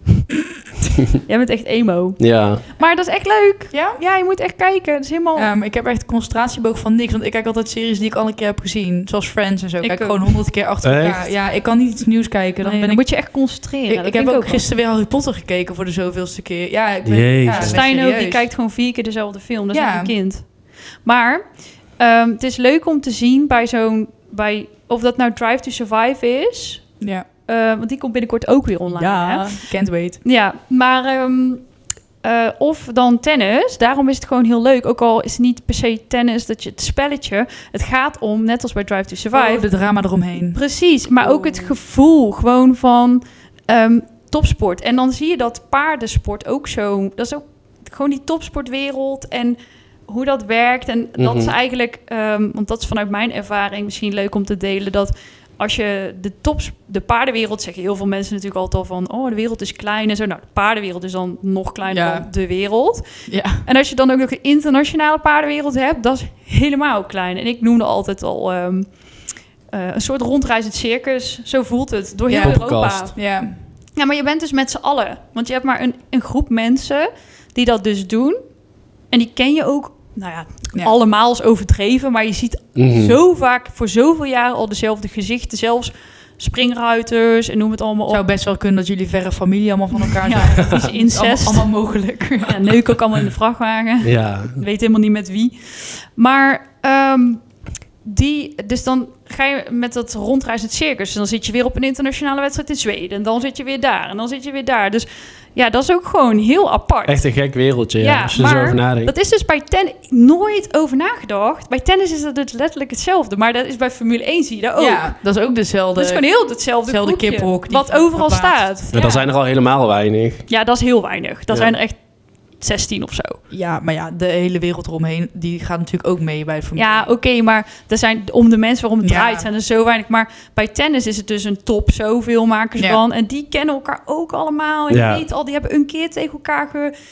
Speaker 1: Jij bent echt emo.
Speaker 2: Ja,
Speaker 1: Maar dat is echt leuk.
Speaker 3: Ja?
Speaker 1: Ja, je moet echt kijken. Het is helemaal...
Speaker 3: Ja, maar ik heb echt concentratieboog van niks. Want ik kijk altijd series die ik al een keer heb gezien. Zoals Friends en zo. Ik
Speaker 1: Ik
Speaker 3: kijk
Speaker 1: ook.
Speaker 3: gewoon honderd keer achter elkaar.
Speaker 2: Echt?
Speaker 3: Ja, ik kan niet iets nieuws kijken. Dan ben
Speaker 1: Nee, dan
Speaker 3: ik...
Speaker 1: moet je echt concentreren.
Speaker 3: Ik,
Speaker 1: Dat
Speaker 3: ik
Speaker 1: vind
Speaker 3: heb ook
Speaker 1: wel.
Speaker 3: gisteren weer Harry Potter gekeken voor de zoveelste keer. Ja, ik ben,
Speaker 2: Jezus.
Speaker 3: ja, ik ben
Speaker 1: Stijn ook, die
Speaker 3: serieus.
Speaker 1: kijkt gewoon vier keer dezelfde film. Dat is
Speaker 3: Ja.
Speaker 1: echt een kind. Maar Ehm, het is leuk om te zien bij zo'n... Bij, of dat nou Drive to Survive is.
Speaker 3: Ja.
Speaker 1: eh, want die komt binnenkort ook weer online. hè?
Speaker 3: Can't wait.
Speaker 1: Ja, maar ehm, eh, of dan tennis. Daarom is het gewoon heel leuk. Ook al is het niet per se tennis dat je het spelletje. Het gaat om, net als bij Drive to Survive.
Speaker 3: Oh, de drama eromheen.
Speaker 1: Precies, maar ook het
Speaker 3: Oh.
Speaker 1: gevoel gewoon van ehm, topsport. En dan zie je dat paardensport ook zo. Dat is ook gewoon die topsportwereld en hoe dat werkt. En dat is
Speaker 2: Mhm.
Speaker 1: eigenlijk, ehm, want dat is vanuit mijn ervaring misschien leuk om te delen. Dat als je de tops, de paardenwereld zeggen heel veel mensen natuurlijk altijd al van, oh de wereld is klein en zo. Nou, de paardenwereld is dan nog kleiner
Speaker 3: Ja.
Speaker 1: dan de wereld.
Speaker 3: Ja.
Speaker 1: En als je dan ook nog een internationale paardenwereld hebt, dat is helemaal klein. En ik noemde altijd al ehm, eh, een soort rondreizend circus. Zo voelt het door heel
Speaker 3: Ja.
Speaker 1: Europa.
Speaker 2: Poppenkast.
Speaker 3: Ja.
Speaker 1: Ja, maar je bent dus met z'n allen. Want je hebt maar een, een groep mensen die dat dus doen. En die ken je ook, nou ja,
Speaker 3: Ja.
Speaker 1: allemaal is overdreven. Maar je ziet
Speaker 2: Mhm.
Speaker 1: zo vaak voor zoveel jaren al dezelfde gezichten. Zelfs springruiters en noem het allemaal op.
Speaker 3: zou best wel kunnen dat jullie verre familie allemaal van elkaar zijn. *laughs*
Speaker 1: *laughs* Ja, het is incest.
Speaker 3: Allemaal, allemaal mogelijk.
Speaker 1: Ja, neuk ook allemaal in de vrachtwagen.
Speaker 2: Ja.
Speaker 1: weet helemaal niet met wie. Maar ehm, die, dus dan ga je met dat rondreizend circus. En dan zit je weer op een internationale wedstrijd in Zweden. En dan zit je weer daar. En dan zit je weer daar. Dus ja, dat is ook gewoon heel apart.
Speaker 2: Echt een gek wereldje, ja,
Speaker 1: Ja,
Speaker 2: als je er
Speaker 1: maar
Speaker 2: zo over nadenkt.
Speaker 1: Dat is dus bij tennis nooit over nagedacht. Bij tennis is dat dus letterlijk hetzelfde. Maar dat is bij Formule 1 zie je dat ook.
Speaker 3: Ja, dat is ook dezelfde.
Speaker 1: Dat is gewoon heel hetzelfde,
Speaker 3: hetzelfde
Speaker 1: groepje,
Speaker 3: kiphok die
Speaker 1: Wat overal
Speaker 3: verplaatst.
Speaker 1: staat.
Speaker 2: Maar
Speaker 1: ja.
Speaker 2: dan zijn er al helemaal weinig.
Speaker 1: ja, dat is heel weinig. Dat
Speaker 2: Ja.
Speaker 1: zijn er echt 16 of zo.
Speaker 3: Ja, maar ja, de hele wereld eromheen, die gaat natuurlijk ook mee bij familie.
Speaker 1: Ja, oké, maar er zijn, om de mensen waarom het
Speaker 3: Ja.
Speaker 1: draait zijn er zo weinig. Maar bij tennis is het dus een top zoveel makers
Speaker 3: Ja.
Speaker 1: van. En die kennen elkaar ook allemaal. En
Speaker 2: Ja.
Speaker 1: je weet al, die hebben een keer tegen elkaar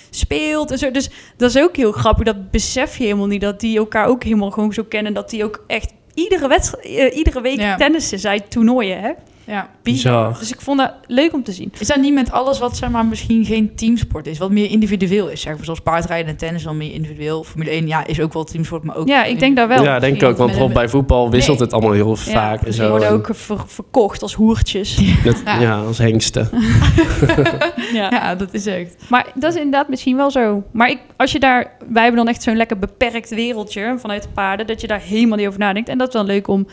Speaker 1: gespeeld en zo. Dus dat is ook heel grappig. Dat besef je helemaal niet. Dat die elkaar ook helemaal gewoon zo kennen. Dat die ook echt iedere, wedst- eh, iedere week
Speaker 3: Ja.
Speaker 1: tennissen. Zij toernooien, hè?
Speaker 3: Ja.
Speaker 2: Bizar.
Speaker 1: Dus ik vond dat leuk om te zien.
Speaker 3: Is dat niet met alles wat zeg maar, misschien geen teamsport is, wat meer individueel is? Zeg maar, zoals paardrijden en tennis, dan meer individueel. Formule 1 ja, is ook wel teamsport, maar ook.
Speaker 1: Ja, ik denk dat wel.
Speaker 2: ja, denk ik ook. Want bijvoorbeeld bij voetbal wisselt
Speaker 1: Nee.
Speaker 2: het allemaal heel
Speaker 1: Ja,
Speaker 2: vaak. En
Speaker 1: dus die
Speaker 2: zo.
Speaker 1: worden
Speaker 2: En
Speaker 1: ook ver- verkocht als hoertjes. *laughs*
Speaker 2: dat- ja. als hengsten.
Speaker 1: ja.
Speaker 3: Ja, dat is echt.
Speaker 1: Maar dat is inderdaad misschien wel zo. Maar ik, als je daar, wij hebben dan echt zo'n lekker beperkt wereldje vanuit de paarden, dat je daar helemaal niet over nadenkt. En dat is wel leuk om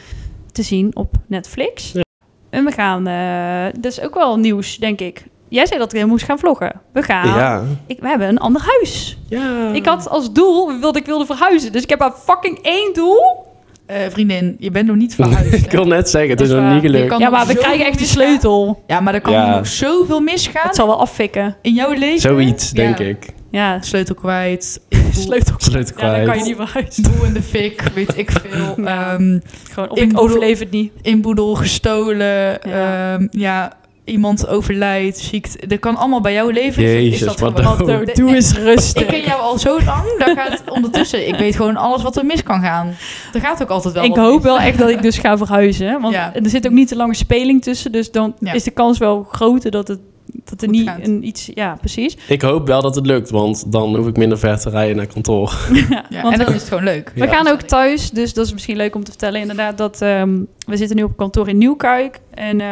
Speaker 1: te zien op Netflix.
Speaker 2: Ja.
Speaker 1: En we gaan, eh, dat is ook wel nieuws, denk ik. Jij zei dat ik moest gaan vloggen. We gaan.
Speaker 2: Ja.
Speaker 1: Ik, we hebben een ander huis.
Speaker 2: ja.
Speaker 3: Ah.
Speaker 1: Ik had als doel dat ik wilde verhuizen. Dus ik heb maar fucking één doel.
Speaker 3: Eh, vriendin, je bent nog
Speaker 2: *laughs*
Speaker 3: niet verhuisd.
Speaker 2: Ik wil net zeggen, het
Speaker 1: Dat
Speaker 2: is
Speaker 1: is
Speaker 2: nog
Speaker 1: waar.
Speaker 3: Je
Speaker 2: niet gelukt.
Speaker 3: kan
Speaker 1: Ja, maar
Speaker 3: nog
Speaker 1: we
Speaker 3: zo
Speaker 1: krijgen echt de
Speaker 3: veel
Speaker 1: sleutel.
Speaker 3: Ja, maar er kan
Speaker 2: Ja.
Speaker 3: nog zoveel misgaan
Speaker 1: Het zal wel affikken.
Speaker 3: in jouw leven.
Speaker 2: Zoiets,
Speaker 3: Ja.
Speaker 2: denk ik.
Speaker 3: *laughs*
Speaker 1: Ja,
Speaker 3: Sleutel kwijt.
Speaker 2: *laughs*
Speaker 1: sleutel.
Speaker 2: Sleutel
Speaker 1: Ja, dan
Speaker 2: kwijt.
Speaker 1: kan je niet verhuizen.
Speaker 3: Boe in de fik, weet ik veel.
Speaker 1: Ja.
Speaker 3: Ehm,
Speaker 1: Gewoon, of
Speaker 3: Ik
Speaker 1: ik
Speaker 3: bedoel-
Speaker 1: overleef het niet.
Speaker 3: inboedel, gestolen,
Speaker 1: Ja.
Speaker 3: ja. ja, iemand overlijdt, ziekte. Dat kan allemaal bij jouw leven. is dat- is
Speaker 2: Jezus,
Speaker 3: dat
Speaker 2: wat
Speaker 3: gewoon-
Speaker 2: dood.
Speaker 3: Nee,
Speaker 1: Doe
Speaker 3: nee,
Speaker 1: eens rustig.
Speaker 3: Ik ken jou al zo lang, daar gaat ondertussen. Ik weet gewoon alles wat er mis kan gaan. Er gaat ook altijd wel
Speaker 1: Ik
Speaker 3: wat
Speaker 1: hoop
Speaker 3: mis.
Speaker 1: wel echt
Speaker 3: *laughs*
Speaker 1: dat ik dus ga verhuizen. Want
Speaker 3: Ja.
Speaker 1: er zit ook niet te lange speling tussen. Dus dan
Speaker 3: Ja.
Speaker 1: is de kans wel groter dat het dat er
Speaker 3: Goed
Speaker 1: niet
Speaker 3: gaat.
Speaker 1: een iets... Ja, precies.
Speaker 2: Ik hoop wel dat het lukt, want dan hoef ik minder ver te rijden naar kantoor.
Speaker 1: Ja,
Speaker 3: Ja,
Speaker 1: want
Speaker 3: en dan
Speaker 1: we,
Speaker 3: is het gewoon leuk.
Speaker 1: we
Speaker 2: Ja.
Speaker 1: gaan ook thuis. Dus dat is misschien leuk om te vertellen. Inderdaad, dat ehm, we zitten nu op kantoor in Nieuwkuik. En eh,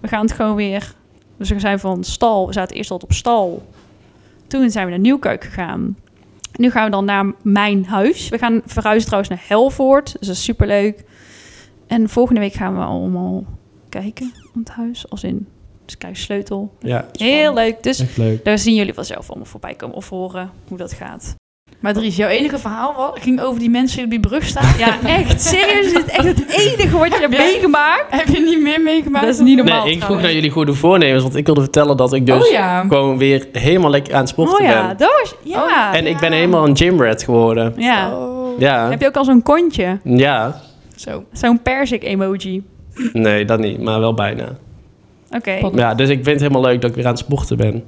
Speaker 1: we gaan het gewoon weer... Dus we zijn van stal. We zaten eerst altijd op stal. Toen zijn we naar Nieuwkuik gegaan. Nu gaan we dan naar mijn huis. We gaan verhuizen trouwens naar Helvoort. Dus dat is superleuk. En volgende week gaan we allemaal kijken om het huis. Als in, dus kijk, sleutel.
Speaker 2: Ja,
Speaker 1: Heel leuk. Dus
Speaker 2: echt leuk.
Speaker 1: daar zien jullie vanzelf allemaal voorbij komen of horen hoe dat gaat.
Speaker 3: Maar Dries, jouw enige verhaal wa- ging over die mensen die op die brug staan.
Speaker 1: Ja, echt. Serieus, dit is echt het enige wat je hebt meegemaakt.
Speaker 3: *laughs* Heb je niet meer meegemaakt?
Speaker 1: Dat is niet
Speaker 2: Nee,
Speaker 1: normaal.
Speaker 2: ik vroeg
Speaker 1: trouwens.
Speaker 2: naar jullie goede voornemens, want ik wilde vertellen dat ik dus
Speaker 3: Oh ja.
Speaker 2: gewoon weer helemaal lekker aan het sporten
Speaker 1: Oh ja,
Speaker 2: ben.
Speaker 1: dat was... Ja.
Speaker 2: En ik ben
Speaker 3: Oh, Ja.
Speaker 2: helemaal een gymrat geworden.
Speaker 1: ja.
Speaker 3: Oh.
Speaker 2: Ja,
Speaker 1: Heb je ook al zo'n kontje?
Speaker 2: ja.
Speaker 3: Zo.
Speaker 1: Zo'n persik-emoji.
Speaker 2: Nee, dat niet, maar wel bijna.
Speaker 1: Oké.
Speaker 3: Pot-
Speaker 2: Ja, dus ik vind het helemaal leuk dat ik weer aan het sporten ben.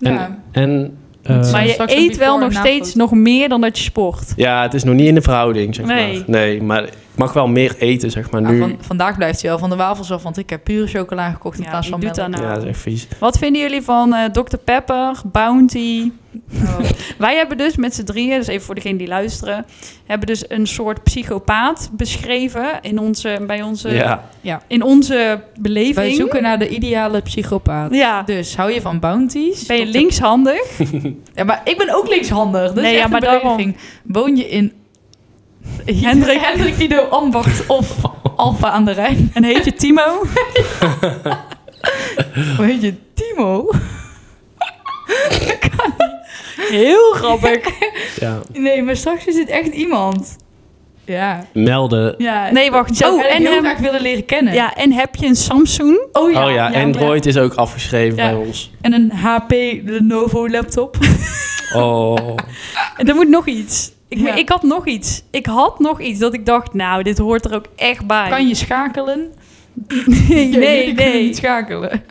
Speaker 2: En,
Speaker 3: Ja.
Speaker 2: en eh,
Speaker 1: Maar je
Speaker 3: Straks een
Speaker 1: eet wel
Speaker 3: before-
Speaker 1: nog
Speaker 3: en
Speaker 1: steeds
Speaker 3: nafoto.
Speaker 1: nog meer dan dat je sport.
Speaker 2: ja, het is nog niet in de verhouding, zeg
Speaker 1: Nee. Ah,
Speaker 2: maar. Nee, maar ik mag wel meer eten, zeg maar,
Speaker 3: Nou,
Speaker 2: nu.
Speaker 3: van- vandaag blijft hij wel van de wafels af, want ik heb pure chocola gekocht in
Speaker 1: Ja,
Speaker 3: plaats
Speaker 1: wie
Speaker 3: van
Speaker 1: doet
Speaker 3: melk.
Speaker 1: dat
Speaker 2: Ja, dat is echt vies.
Speaker 1: Wat vinden jullie van eh, Dr. Pepper, Bounty?
Speaker 3: Oh.
Speaker 1: Wij hebben dus met z'n drieën, dus even voor degenen die luisteren, hebben dus een soort psychopaat beschreven in onze, bij onze,
Speaker 2: Ja,
Speaker 1: in onze beleving.
Speaker 3: Wij zoeken naar de ideale psychopaat.
Speaker 1: Ja,
Speaker 3: Dus hou je van bounties?
Speaker 1: ben je
Speaker 3: Tot de-
Speaker 1: linkshandig?
Speaker 3: Ja, maar ik ben ook linkshandig. Dus
Speaker 1: Nee,
Speaker 3: echt
Speaker 1: ja, maar
Speaker 3: een belediging. Woon je in
Speaker 1: *laughs* Hendrik.
Speaker 3: Hendrik Guido Ambacht
Speaker 1: *laughs*
Speaker 3: of Alfa aan de Rijn.
Speaker 1: En heet je
Speaker 3: *laughs*
Speaker 1: Timo?
Speaker 3: Hoe heet je? Timo?
Speaker 1: Heel grappig.
Speaker 2: Ja.
Speaker 3: *laughs* Nee, maar straks is het echt iemand. Ja.
Speaker 2: Melden.
Speaker 3: ja
Speaker 1: Nee, wacht.
Speaker 3: Zou
Speaker 1: Oh,
Speaker 3: ik en
Speaker 1: en
Speaker 3: heel
Speaker 1: hem-
Speaker 3: graag willen leren kennen.
Speaker 1: Ja, en heb je een Samsung? *laughs*
Speaker 3: Oh ja.
Speaker 2: oh ja, Android is ook afgeschreven
Speaker 3: Ja.
Speaker 2: bij ons.
Speaker 3: En een HP Lenovo laptop.
Speaker 2: Oh.
Speaker 1: Er moet nog iets. Ik,
Speaker 3: Ja.
Speaker 1: ik had nog iets. Ik had nog iets dat ik dacht, nou, dit hoort er ook echt bij. *laughs*
Speaker 3: Kan je schakelen? Ja,
Speaker 1: nee,
Speaker 3: jullie kunnen
Speaker 1: nee.
Speaker 3: niet schakelen.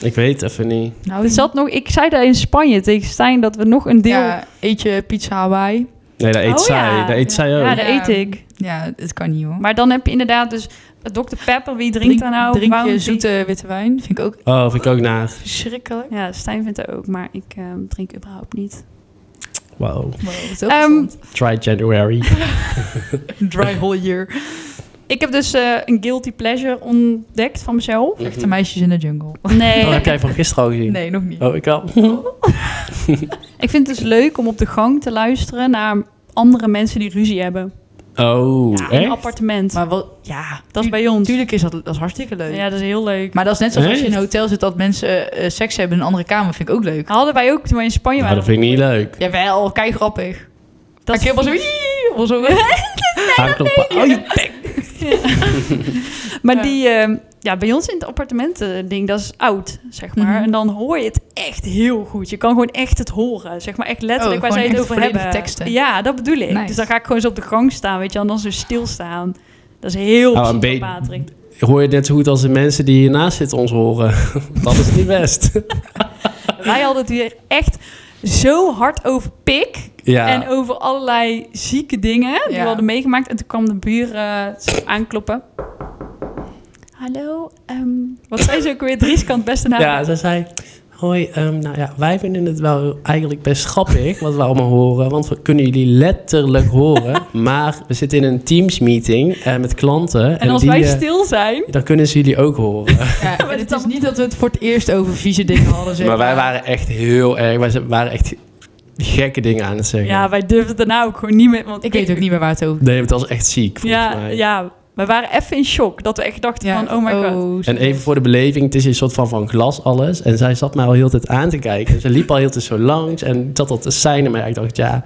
Speaker 2: ik weet even niet.
Speaker 3: Nou,
Speaker 1: Er zat nog, ik zei daar in Spanje tegen Stijn dat we nog een deel...
Speaker 3: Ja, eet je pizza Hawaii?
Speaker 2: Nee, dat eet
Speaker 1: Oh
Speaker 2: zij.
Speaker 1: ja.
Speaker 2: Dat eet zij ook.
Speaker 1: Ja,
Speaker 3: Oh.
Speaker 1: dat
Speaker 3: Ja.
Speaker 1: eet ik.
Speaker 3: Ja, het kan niet hoor.
Speaker 1: Maar dan heb je inderdaad dus Dr. Pepper. Wie drinkt
Speaker 3: Drink-
Speaker 1: daar nou?
Speaker 3: Drink
Speaker 1: Bounty?
Speaker 3: je zoete witte wijn? Vind ik ook
Speaker 2: Oh, vind ik ook naar.
Speaker 3: verschrikkelijk.
Speaker 1: Ja, Stijn vindt het ook, maar ik eh, drink überhaupt niet.
Speaker 2: Wow.
Speaker 3: Wow, dat is heel
Speaker 1: Ehm,
Speaker 3: gezond. *laughs*
Speaker 2: Try January.
Speaker 3: Dry whole
Speaker 2: Mhm.
Speaker 3: year.
Speaker 1: Ik heb dus eh, een guilty pleasure ontdekt van mezelf.
Speaker 3: Echte meisjes in de jungle.
Speaker 1: Nee,
Speaker 2: Oh, heb jij van gisteren al gezien?
Speaker 3: Nee, nog niet.
Speaker 2: Oh, ik al.
Speaker 1: ik vind het dus leuk om op de gang te luisteren naar andere mensen die ruzie hebben.
Speaker 2: Oh,
Speaker 1: Ja, in een
Speaker 2: echt?
Speaker 1: appartement.
Speaker 3: Maar wel, ja,
Speaker 1: dat is bij ons.
Speaker 3: Natuurlijk is dat, dat is hartstikke leuk.
Speaker 1: Ja, dat is heel leuk.
Speaker 3: Maar dat is net zoals als je in
Speaker 2: Echt?
Speaker 3: een hotel zit dat mensen eh, seks hebben in een andere kamer. Vind ik ook leuk.
Speaker 1: Hadden wij ook toen wij in Spanje
Speaker 2: Nou,
Speaker 1: waren.
Speaker 2: dat vind ik niet leuk.
Speaker 3: Jawel, kijk grappig. Dat
Speaker 1: is
Speaker 3: ik helemaal zo... "Iii", of
Speaker 1: *laughs*
Speaker 3: zo.
Speaker 2: Aankloppen. Oh, je
Speaker 1: Maar
Speaker 3: Ja.
Speaker 1: die, eh, ja, bij ons in het appartement eh, ding, dat is oud, zeg maar.
Speaker 3: Mhm.
Speaker 1: En dan hoor je het echt heel goed. Je kan gewoon echt het horen, zeg maar. Echt letterlijk
Speaker 3: Oh,
Speaker 1: waar zij
Speaker 3: gewoon
Speaker 1: het
Speaker 3: echt
Speaker 1: over
Speaker 3: volledige
Speaker 1: hebben.
Speaker 3: teksten.
Speaker 1: Ja, dat bedoel ik.
Speaker 3: Nice.
Speaker 1: Dus dan ga ik gewoon zo op de gang staan, weet je, en dan zo stilstaan. Dat is heel
Speaker 2: Oh,
Speaker 1: oh,
Speaker 2: een be-
Speaker 1: Patrick.
Speaker 2: hoor je net zo goed als de mensen die hiernaast zitten ons horen. *laughs* Dat is niet best.
Speaker 1: Wij hadden het hier echt zo hard over pik
Speaker 2: Ja.
Speaker 1: en over allerlei zieke dingen die
Speaker 3: Ja.
Speaker 1: we hadden meegemaakt. En toen kwam de buur eh, zo aankloppen. Hallo, ehm, wat zei ze ook weer? Dries kan het beste naam.
Speaker 2: Ja, zij zei... Hoi, ehm, nou ja, wij vinden het wel eigenlijk best grappig wat we allemaal horen. Want we kunnen jullie letterlijk
Speaker 1: *laughs*
Speaker 2: horen. Maar we zitten in een Teams-meeting eh, met klanten. En,
Speaker 1: En als
Speaker 2: die,
Speaker 1: wij
Speaker 2: eh,
Speaker 1: stil zijn,
Speaker 2: dan kunnen ze jullie ook
Speaker 1: *laughs*
Speaker 2: horen.
Speaker 3: *laughs* Ja, en
Speaker 1: Maar
Speaker 3: het
Speaker 1: dat-
Speaker 3: is niet dat we het voor het eerst over vieze dingen hadden. Zeg.
Speaker 2: maar wij waren echt heel erg... Wij ze- waren echt gekke dingen aan het zeggen.
Speaker 1: ja, wij durfden daarna ook gewoon niet meer. Want
Speaker 3: Ik weet ook niet meer waar het over
Speaker 2: Nee, het was echt ziek, volgens
Speaker 1: Ja,
Speaker 2: mij.
Speaker 1: ja, we waren even in shock dat we echt dachten
Speaker 3: Ja,
Speaker 1: van, oh my god.
Speaker 2: En even voor de beleving, het is een soort van van glas alles. En zij zat mij al heel de tijd aan te kijken. Ze liep al heel de tijd zo langs en zat al te seinen. Maar ik dacht, ja,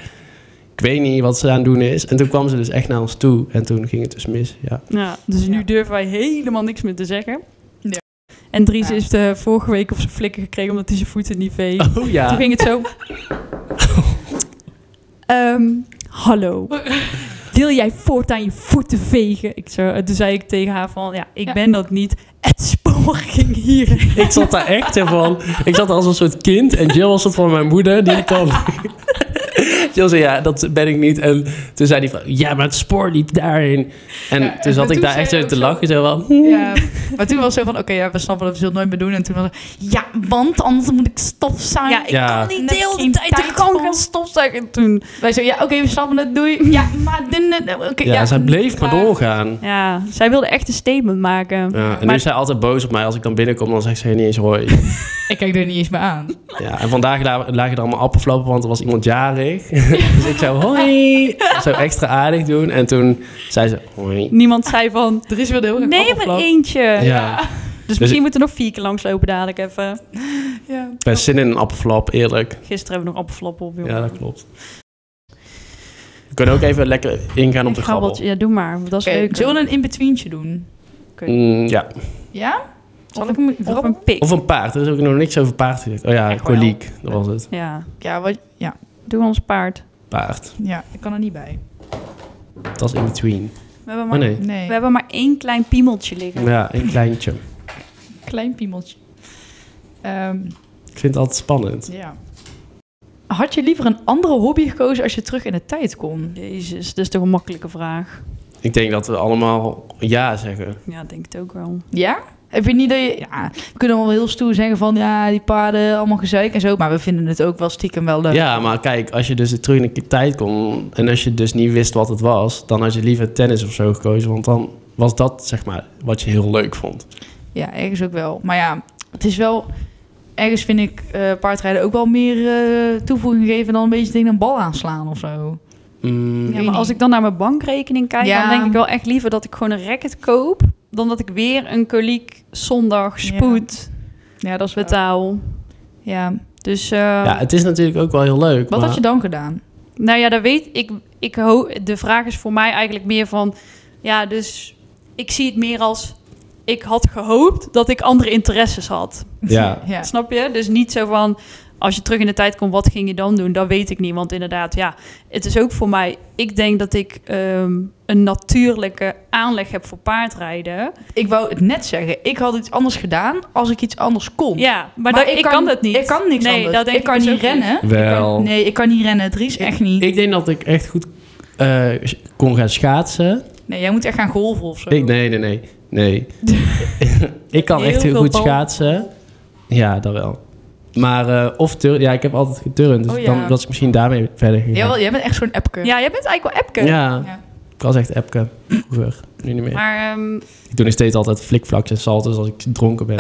Speaker 2: ik weet niet wat ze aan het doen is. En toen kwam ze dus echt naar ons toe. En toen ging het dus mis, ja.
Speaker 1: Ja, dus nu
Speaker 3: Ja.
Speaker 1: durven wij helemaal niks meer te zeggen.
Speaker 3: Ja.
Speaker 1: En Dries
Speaker 3: Ja.
Speaker 1: heeft eh, vorige week op zijn flikken gekregen omdat hij zijn voeten niet veeg.
Speaker 2: Oh ja.
Speaker 1: Toen ging het zo. *laughs* Ehm, hallo. Wil jij voortaan je voeten vegen? Ik zo, eh, toen zei ik tegen haar van, ja, ik
Speaker 3: Ja.
Speaker 1: ben dat niet. Het spoor *laughs* ging hier.
Speaker 2: Ik zat daar echt van. Ik zat als een soort kind. En Jill was het van mijn moeder. Die ik dan... Jill zei, ja, dat ben ik niet. En toen zei hij van, ja, maar het spoor liep daarin. En
Speaker 3: Ja,
Speaker 2: toen zat
Speaker 3: en
Speaker 2: ik
Speaker 3: toen
Speaker 2: daar echt
Speaker 3: zei
Speaker 2: zo
Speaker 3: je
Speaker 2: te
Speaker 3: ook
Speaker 2: lachen. Zo van, "Hm."
Speaker 3: Ja, maar toen was zo van, oké, ja, we snappen dat we het nooit meer doen. En toen was het, ja, want anders moet ik stofzuigen.
Speaker 1: Ja, ik
Speaker 2: Ja.
Speaker 1: kan niet
Speaker 3: Net
Speaker 1: de hele
Speaker 3: geen
Speaker 1: tijd de
Speaker 3: tijd
Speaker 1: gang
Speaker 3: voor.
Speaker 1: gaan stofzuigen. Toen,
Speaker 3: Wij zo, ja, oké, we snappen het, doei. Ja, maar... Din, din, din, oké,
Speaker 2: ja, zij bleef maar
Speaker 3: klaar.
Speaker 2: doorgaan.
Speaker 1: ja, zij wilde echt een statement maken.
Speaker 2: Ja, en nu
Speaker 1: Maar-
Speaker 2: is zij altijd boos op mij. Als ik dan binnenkom, dan zegt ze niet eens hoi. *laughs*
Speaker 3: Ik kijk er niet eens meer aan.
Speaker 2: Ja, en vandaag la- lagen er allemaal appelflappen, want er was iemand jarig. *laughs* dus ik zou hoi, zo extra aardig doen. En toen zei ze hoi.
Speaker 1: Niemand zei van,
Speaker 3: Er is wel heel erg
Speaker 1: neem er
Speaker 3: appelflap.
Speaker 1: eentje.
Speaker 2: Ja,
Speaker 1: Dus misschien moeten we nog vier keer langslopen dadelijk even.
Speaker 3: Ja.
Speaker 2: best zin in een appelflap, eerlijk.
Speaker 1: Gisteren hebben we nog appelflappen op, jongen.
Speaker 2: Ja, dat klopt. We kunnen ook even lekker ingaan op de grabbel.
Speaker 1: Een grabbeltje. Ja, doe maar. want Dat is
Speaker 3: Oké,
Speaker 1: leuk.
Speaker 3: zullen we een in-betweentje doen?
Speaker 2: Mm, ja.
Speaker 3: Ja?
Speaker 1: Zal
Speaker 3: Of een
Speaker 1: Of een pik.
Speaker 2: Of een paard, er is ook nog niks over paard gezegd. Oh ja,
Speaker 1: Echt wel.
Speaker 2: koliek, dat was het.
Speaker 1: Ja,
Speaker 3: Ja, wat, ja,
Speaker 1: doe ons paard.
Speaker 2: Paard,
Speaker 3: ja, ik kan er niet bij.
Speaker 2: dat is in between.
Speaker 1: We hebben maar,
Speaker 2: Oh nee,
Speaker 3: Nee.
Speaker 1: we hebben maar één klein piemeltje liggen.
Speaker 2: ja, een kleintje.
Speaker 3: klein piemeltje. Ehm,
Speaker 2: Ik vind het altijd spannend.
Speaker 3: ja. Had je liever een andere hobby gekozen als je terug in de tijd kon?
Speaker 1: Jezus, dat is toch een makkelijke vraag.
Speaker 2: Ik denk dat we allemaal ja zeggen.
Speaker 1: Ja, ik denk het ook wel.
Speaker 3: Ja? Heb je niet dat je... Ja, we kunnen wel heel stoer zeggen van... Ja, die paarden, allemaal gezeik en zo. Maar we vinden het ook wel stiekem wel leuk.
Speaker 2: Ja, maar kijk, als je dus terug in de tijd kon en als je dus niet wist wat het was, dan had je liever tennis of zo gekozen, want dan was dat zeg maar wat je heel leuk vond.
Speaker 3: Ja, ergens ook wel. Maar ja, het is wel... Ergens vind ik eh, paardrijden ook wel meer eh, toevoeging geven... dan een beetje tegen een bal aanslaan of zo.
Speaker 2: Mm,
Speaker 1: Ja,
Speaker 3: Weet
Speaker 1: maar als
Speaker 3: niet.
Speaker 1: ik dan naar mijn bankrekening kijk,
Speaker 3: Ja.
Speaker 1: dan denk ik wel echt liever dat ik gewoon een racket koop. Dan dat ik weer een koliek zondag
Speaker 3: Ja.
Speaker 1: spoed
Speaker 3: Ja, dat is wel...
Speaker 1: betaal.
Speaker 3: Ja.
Speaker 1: Dus eh,
Speaker 2: ja, het is natuurlijk ook wel heel leuk.
Speaker 3: Wat
Speaker 2: maar,
Speaker 3: had je dan gedaan?
Speaker 1: nou ja, dat weet ik. ik ho- de vraag is voor mij eigenlijk meer van, ja, dus ik zie het meer als, ik had gehoopt dat ik andere interesses had.
Speaker 2: *laughs*
Speaker 3: *laughs*
Speaker 2: Ja.
Speaker 3: ja.
Speaker 1: Snap je? Dus niet zo van, als je terug in de tijd komt, wat ging je dan doen? Dat weet ik niet. Want inderdaad, ja, het is ook voor mij. Ik denk dat ik ehm, een natuurlijke aanleg heb voor paardrijden.
Speaker 3: Ik wou het net zeggen. Ik had iets anders gedaan als ik iets anders kon.
Speaker 1: Ja, maar, dat, ik, kan, dat niet.
Speaker 3: Ik kan niks
Speaker 1: nee,
Speaker 3: anders.
Speaker 1: Dat denk
Speaker 3: ik kan
Speaker 1: dus
Speaker 3: niet
Speaker 1: ook
Speaker 3: rennen.
Speaker 2: Wel.
Speaker 3: Nee, ik kan niet rennen. Het is echt niet.
Speaker 2: Ik denk dat ik echt goed eh, kon gaan schaatsen.
Speaker 3: Nee, jij moet echt gaan golven of zo.
Speaker 2: Ik, nee, nee, nee. nee. *laughs* ik kan
Speaker 1: Heel
Speaker 2: echt heel
Speaker 1: veel
Speaker 2: goed
Speaker 1: bal.
Speaker 2: schaatsen. Ja, dat wel. Maar, eh, of tur ja, ik heb altijd geturnd. Dus
Speaker 3: Oh, ja.
Speaker 2: dan was ik misschien daarmee verder gegaan.
Speaker 3: Jawel, jij bent echt zo'n appke.
Speaker 1: Ja, jij bent eigenlijk wel Epke.
Speaker 2: Ja,
Speaker 3: Ja.
Speaker 2: ik was echt Epke vroeger. Nu niet meer.
Speaker 1: Maar, ehm
Speaker 2: Ik doe nog steeds altijd flikflaks en salto's als ik dronken ben.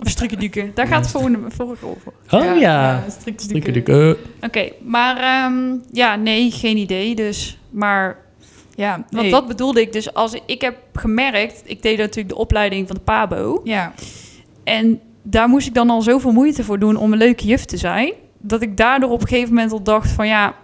Speaker 1: of strikkeduken. Daar gaat het volgende, volgende over.
Speaker 2: Oh ja,
Speaker 3: strikt
Speaker 2: Strikkedik,
Speaker 3: natuurlijk.
Speaker 2: eh.
Speaker 1: Oké, maar ehm, ja, nee, geen idee dus. Maar
Speaker 3: Ja,
Speaker 1: want
Speaker 3: nee.
Speaker 1: dat bedoelde ik dus. Als ik heb gemerkt, ik deed natuurlijk de opleiding van de PABO.
Speaker 3: Ja,
Speaker 1: En daar moest ik dan al zoveel moeite voor doen om een leuke juf te zijn. Dat ik daardoor op een gegeven moment al dacht van ja,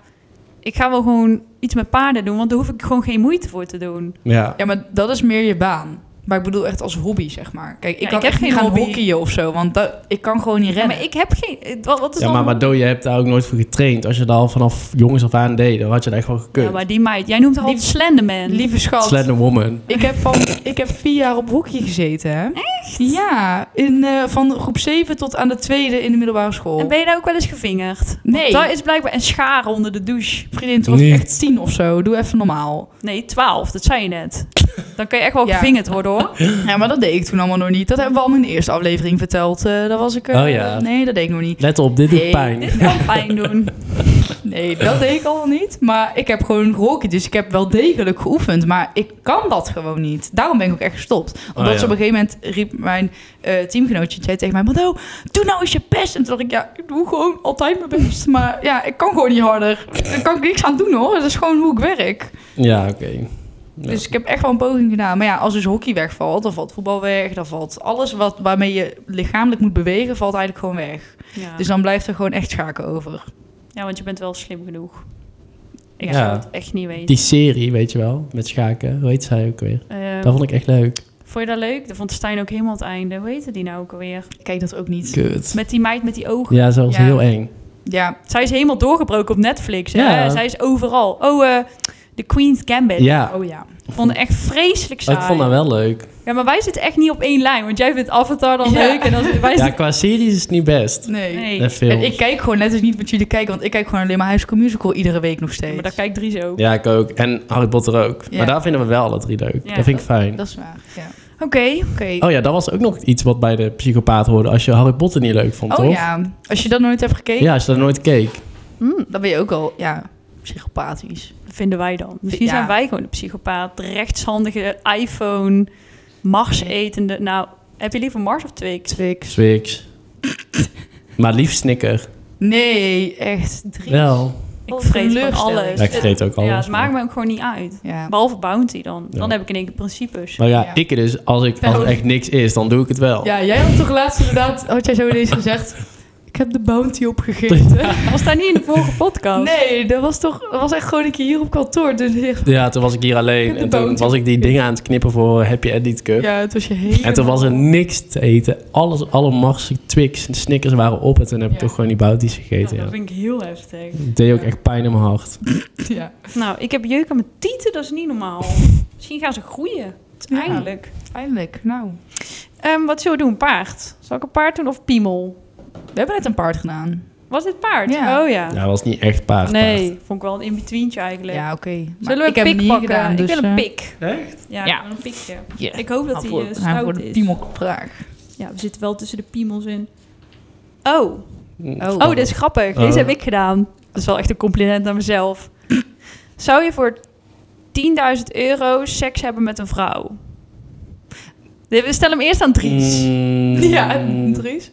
Speaker 1: ik ga wel gewoon iets met paarden doen. Want daar hoef ik gewoon geen moeite voor te doen.
Speaker 2: Ja.
Speaker 3: ja, maar dat is meer je baan. Maar ik bedoel echt als hobby, zeg maar. Kijk, ik
Speaker 1: Ja,
Speaker 3: kan
Speaker 1: ik heb
Speaker 3: echt niet
Speaker 1: geen
Speaker 3: gaan
Speaker 1: hobby.
Speaker 3: hockeyen of zo, want dat, ik kan gewoon niet
Speaker 1: Ja,
Speaker 3: rennen.
Speaker 1: maar ik heb geen... Wat, wat is
Speaker 2: Ja,
Speaker 1: dan...
Speaker 2: maar Mado, je hebt daar ook nooit voor getraind. Als je dat al vanaf jongens af aan deed, dan had je dat echt wel gekund.
Speaker 1: Ja, maar die meid, jij noemt haar altijd Slenderman.
Speaker 3: Lieve schat,
Speaker 2: Slender woman.
Speaker 3: ik heb, van, ik heb vier jaar op hockey gezeten, hè? Echt? Ja, in, eh, van groep 7 tot aan de tweede in de middelbare school.
Speaker 1: En ben je daar ook wel eens gevingerd?
Speaker 3: Nee.
Speaker 1: Dat is blijkbaar een schaar onder de douche.
Speaker 3: Vriendin, toen was ik
Speaker 2: Niet.
Speaker 3: echt tien of zo. Doe even normaal.
Speaker 1: Nee, 12, dat zei je net. Dan kan je echt wel *laughs*
Speaker 3: Ja.
Speaker 1: gevingerd worden
Speaker 2: *laughs*
Speaker 1: hoor.
Speaker 3: Ja, maar dat deed ik toen allemaal nog niet. Dat hebben we al in de eerste aflevering verteld. Eh dat was ik... eh,
Speaker 2: Oh ja.
Speaker 3: Nee, dat deed ik nog niet.
Speaker 2: Let op, dit doet
Speaker 3: Nee,
Speaker 2: pijn.
Speaker 1: Dit kan pijn doen.
Speaker 3: Nee, dat deed ik al niet. Maar ik heb gewoon gehockeyd. Dus ik heb wel degelijk geoefend. Maar ik kan dat gewoon niet. Daarom ben ik ook echt gestopt. Omdat
Speaker 2: Oh, ja.
Speaker 3: ze op een gegeven moment riep mijn eh, teamgenootje... zei tegen mij, Mado, doe nou eens je best. En toen dacht ik, ja, ik doe gewoon altijd mijn best. Maar ja, ik kan gewoon niet harder. Daar kan ik niks aan doen hoor. Dat is gewoon hoe ik werk.
Speaker 2: Ja, oké. Ja.
Speaker 3: Dus ik heb echt wel een poging gedaan. Maar ja, als dus hockey wegvalt, dan valt voetbal weg. Dan valt alles wat, waarmee je lichamelijk moet bewegen, valt eigenlijk gewoon weg.
Speaker 1: Ja.
Speaker 3: Dus dan blijft er gewoon echt schaken over.
Speaker 1: ja, want je bent wel slim genoeg. Ik
Speaker 2: Ja.
Speaker 1: zou het echt niet weten.
Speaker 2: Die serie, weet je wel, met schaken. Hoe heet zij ook weer?
Speaker 1: Ehm,
Speaker 2: Dat vond ik echt leuk.
Speaker 1: Vond je dat leuk? Dat vond Stijn ook helemaal het einde. Hoe heette die nou ook alweer?
Speaker 3: Ik kijk dat ook niet.
Speaker 2: Kut.
Speaker 1: Met die meid met die ogen.
Speaker 2: Ja, ze was
Speaker 3: Ja.
Speaker 2: heel eng. Oh,
Speaker 3: Ja,
Speaker 1: Zij is helemaal doorgebroken op Netflix. Hè?
Speaker 2: Ja.
Speaker 1: Zij is overal. Oh, eh The Queen's Gambit.
Speaker 2: Ja,
Speaker 3: oh ja.
Speaker 1: Ik vond het echt vreselijk
Speaker 2: maar
Speaker 1: saai.
Speaker 2: ik vond dat wel leuk.
Speaker 1: Ja, maar wij zitten echt niet op één lijn. Want jij vindt Avatar dan
Speaker 3: Ja.
Speaker 1: leuk. En dan wij
Speaker 2: Ja,
Speaker 1: zitten...
Speaker 2: qua series is het niet best.
Speaker 3: Nee.
Speaker 1: Nee.
Speaker 2: En
Speaker 3: En
Speaker 2: films.
Speaker 3: ik kijk gewoon net als niet wat jullie kijken, want ik kijk gewoon alleen maar High School Musical iedere week nog steeds.
Speaker 1: Maar daar kijkt Dries ook.
Speaker 2: Ja, ik ook. En Harry Potter ook.
Speaker 3: Ja.
Speaker 2: Maar daar vinden we wel alle drie leuk.
Speaker 1: Ja.
Speaker 2: Dat vind ik fijn.
Speaker 3: Dat is waar, ja.
Speaker 1: Oké.
Speaker 3: Oké.
Speaker 2: Oh ja, dat was ook nog iets wat bij de psychopaat hoorde. Als je Harry Potter niet leuk vond,
Speaker 3: Oh,
Speaker 2: toch?
Speaker 3: ja, als je dat nooit hebt gekeken,
Speaker 2: Ja, als je dat nooit keek.
Speaker 1: Hm,
Speaker 3: dan ben je ook al, ja, psychopathisch.
Speaker 1: dat vinden wij dan. Misschien
Speaker 3: Ja.
Speaker 1: zijn wij gewoon de psychopaat. De rechtshandige iPhone. Mars etende. Nou, heb je liever Mars of Twix?
Speaker 3: Twix.
Speaker 2: Swix. *laughs* maar liefst Snicker.
Speaker 3: Nee, echt. Drie.
Speaker 2: Wel.
Speaker 1: Ik
Speaker 3: Wat
Speaker 1: vreet van
Speaker 3: teleurstelling.
Speaker 1: alles.
Speaker 2: Ja, ik vreet ook alles.
Speaker 1: Ja, het maakt
Speaker 2: maar...
Speaker 1: me ook gewoon niet uit.
Speaker 3: Ja.
Speaker 1: Behalve Bounty dan. Dan
Speaker 2: Ja.
Speaker 1: heb ik in één keer principes.
Speaker 2: Maar ja,
Speaker 3: Ja.
Speaker 2: ik dus, als, ik, als er echt niks is, dan doe ik het wel.
Speaker 3: Ja, jij had toch laatst inderdaad, had jij zo
Speaker 2: *laughs*
Speaker 3: ineens gezegd, ik heb de bounty opgegeten.
Speaker 1: *laughs* Was daar niet in de vorige podcast?
Speaker 3: Nee, dat was toch, dat was echt gewoon een keer hier op kantoor. Dus hier-
Speaker 2: Ja, toen was ik hier alleen.
Speaker 3: Met de
Speaker 2: En toen
Speaker 3: boot.
Speaker 2: was ik die dingen aan het knippen voor Happy Edit Cup.
Speaker 3: ja, het was je hele...
Speaker 2: En toen was er niks te eten. Alles, alle Mars, Twix en Snickers waren op. En toen heb ik
Speaker 3: Ja.
Speaker 2: toch gewoon die bounties
Speaker 1: Nou,
Speaker 2: gegeten. Ja,
Speaker 1: Dat vind ik heel heftig.
Speaker 2: Het deed ook echt pijn in mijn hart.
Speaker 3: Ja,
Speaker 1: Nou, ik heb jeuk aan mijn tieten, dat is niet normaal. Misschien gaan ze groeien. Eindelijk.
Speaker 3: Eindelijk, nou.
Speaker 1: Ehm, wat zullen we doen? Paard. Zal ik een paard doen of piemel?
Speaker 3: We hebben net een paard gedaan.
Speaker 1: Was dit paard?
Speaker 3: Ja.
Speaker 1: Oh ja.
Speaker 2: Ja, dat was niet echt paard.
Speaker 1: nee, vond ik wel een in-betweentje eigenlijk.
Speaker 3: Ja, oké. Maar
Speaker 1: Zullen we een
Speaker 3: ik heb hem
Speaker 1: pik
Speaker 3: niet
Speaker 1: pakken?
Speaker 3: gedaan, dus...
Speaker 1: ik wil
Speaker 3: eh,
Speaker 1: een pik.
Speaker 2: Echt?
Speaker 1: Ja,
Speaker 3: Ja.
Speaker 1: ik wil een pikje.
Speaker 3: yeah.
Speaker 1: Ik hoop dat hij
Speaker 2: Voor-
Speaker 1: eh,
Speaker 3: Hij voor
Speaker 1: stout
Speaker 3: de
Speaker 1: is. *laughs*
Speaker 3: piemelkraag.
Speaker 1: Ja, we zitten wel tussen de piemels in. Oh,
Speaker 2: Mm.
Speaker 3: Oh.
Speaker 1: Oh, dit is grappig.
Speaker 2: Oh.
Speaker 1: Deze heb ik gedaan. Dat is wel echt een compliment aan mezelf. Zou je voor 10.000 euro seks hebben met een vrouw? Nee, We stellen hem eerst aan Dries.
Speaker 2: Mm.
Speaker 3: Ja, Dries.